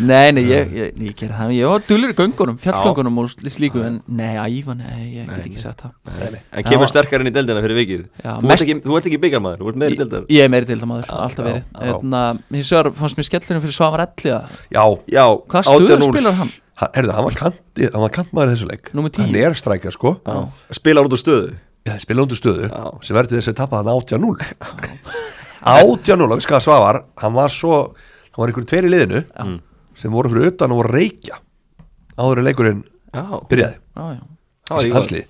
Nei, nei, ég, ég, ég gerði það Ég var dullur í göngunum, fjallgöngunum og slíku En nei, æfa, nei, ég get ekki sagt það En kemur Já. sterkar inn í deildina fyrir vikið Já, Þú ert mest- ekki, þú ert ekki byggarmaður, þú ert meðri deildar Ég ég er meiri deildamaður, alltaf já, verið já. Þannig að hins vegar fannst mér skellurinn fyrir Svavar Elliða Já, Já, Hvað stöðu 18-0. spilar hann? hann- heyrðu, hann var kant Hann var kantmaður í þessu leik Númer 10. Hann er strækja, sko Spilar út úr stöðu Það spila undir stöðu Já. sem verður til þess að tappa hann 8-0 8-0, og við skaða Svavar hann var svo, hann var einhverjum tveir í liðinu sem voru fyrir utan og voru að reykja áður en leikurinn Já, byrjaði Já, já það var í hansli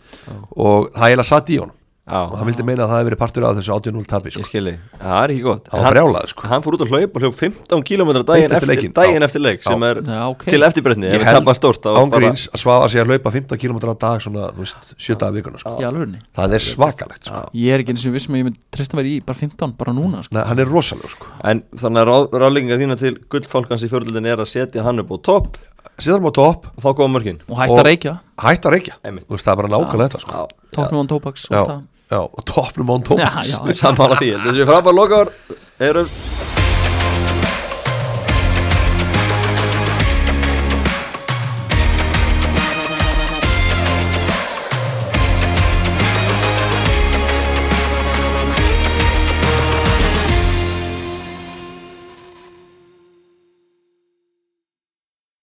og það heila satt í honum og Já, hann vildi meina að það hefði verið partur af þessu 8-0 tapi sko. ég skilji, það er ekki gott Hann En var brjálaður, sko. Hann fór út að hlaupa og hljóp 15 km daginn Beint eftir eftir, leikinn, daginn já. eftir leik sem Já. er Já, ok. til eftirbrettni ég ef við held tapar stórt þá bara- ángríns að Svavar sé að hlaupa 15 km á dag svona, þú veist, 7 dagar vikuna sko. Í alvörunni það er svakalegt sko. Ég er ekki eins og vissum um að ég myndi treysta mér í bara 15, bara núna sko. Nei, hann er rosaleg sko. En þannig að ráð, ráðlinga þína til gullfálkans í fjörlundin er að setja hann upp á topp síðan á topp, og þá koma mörkin Og hætta Og- að reykja, hætt að reykja Einmitt. Þú veist, það er bara nákvæmlega þetta sko. tóknum án tóbaks og já, það já, og toppnum án Já, tóps já, Sammála því, þessi frábær lokaður erum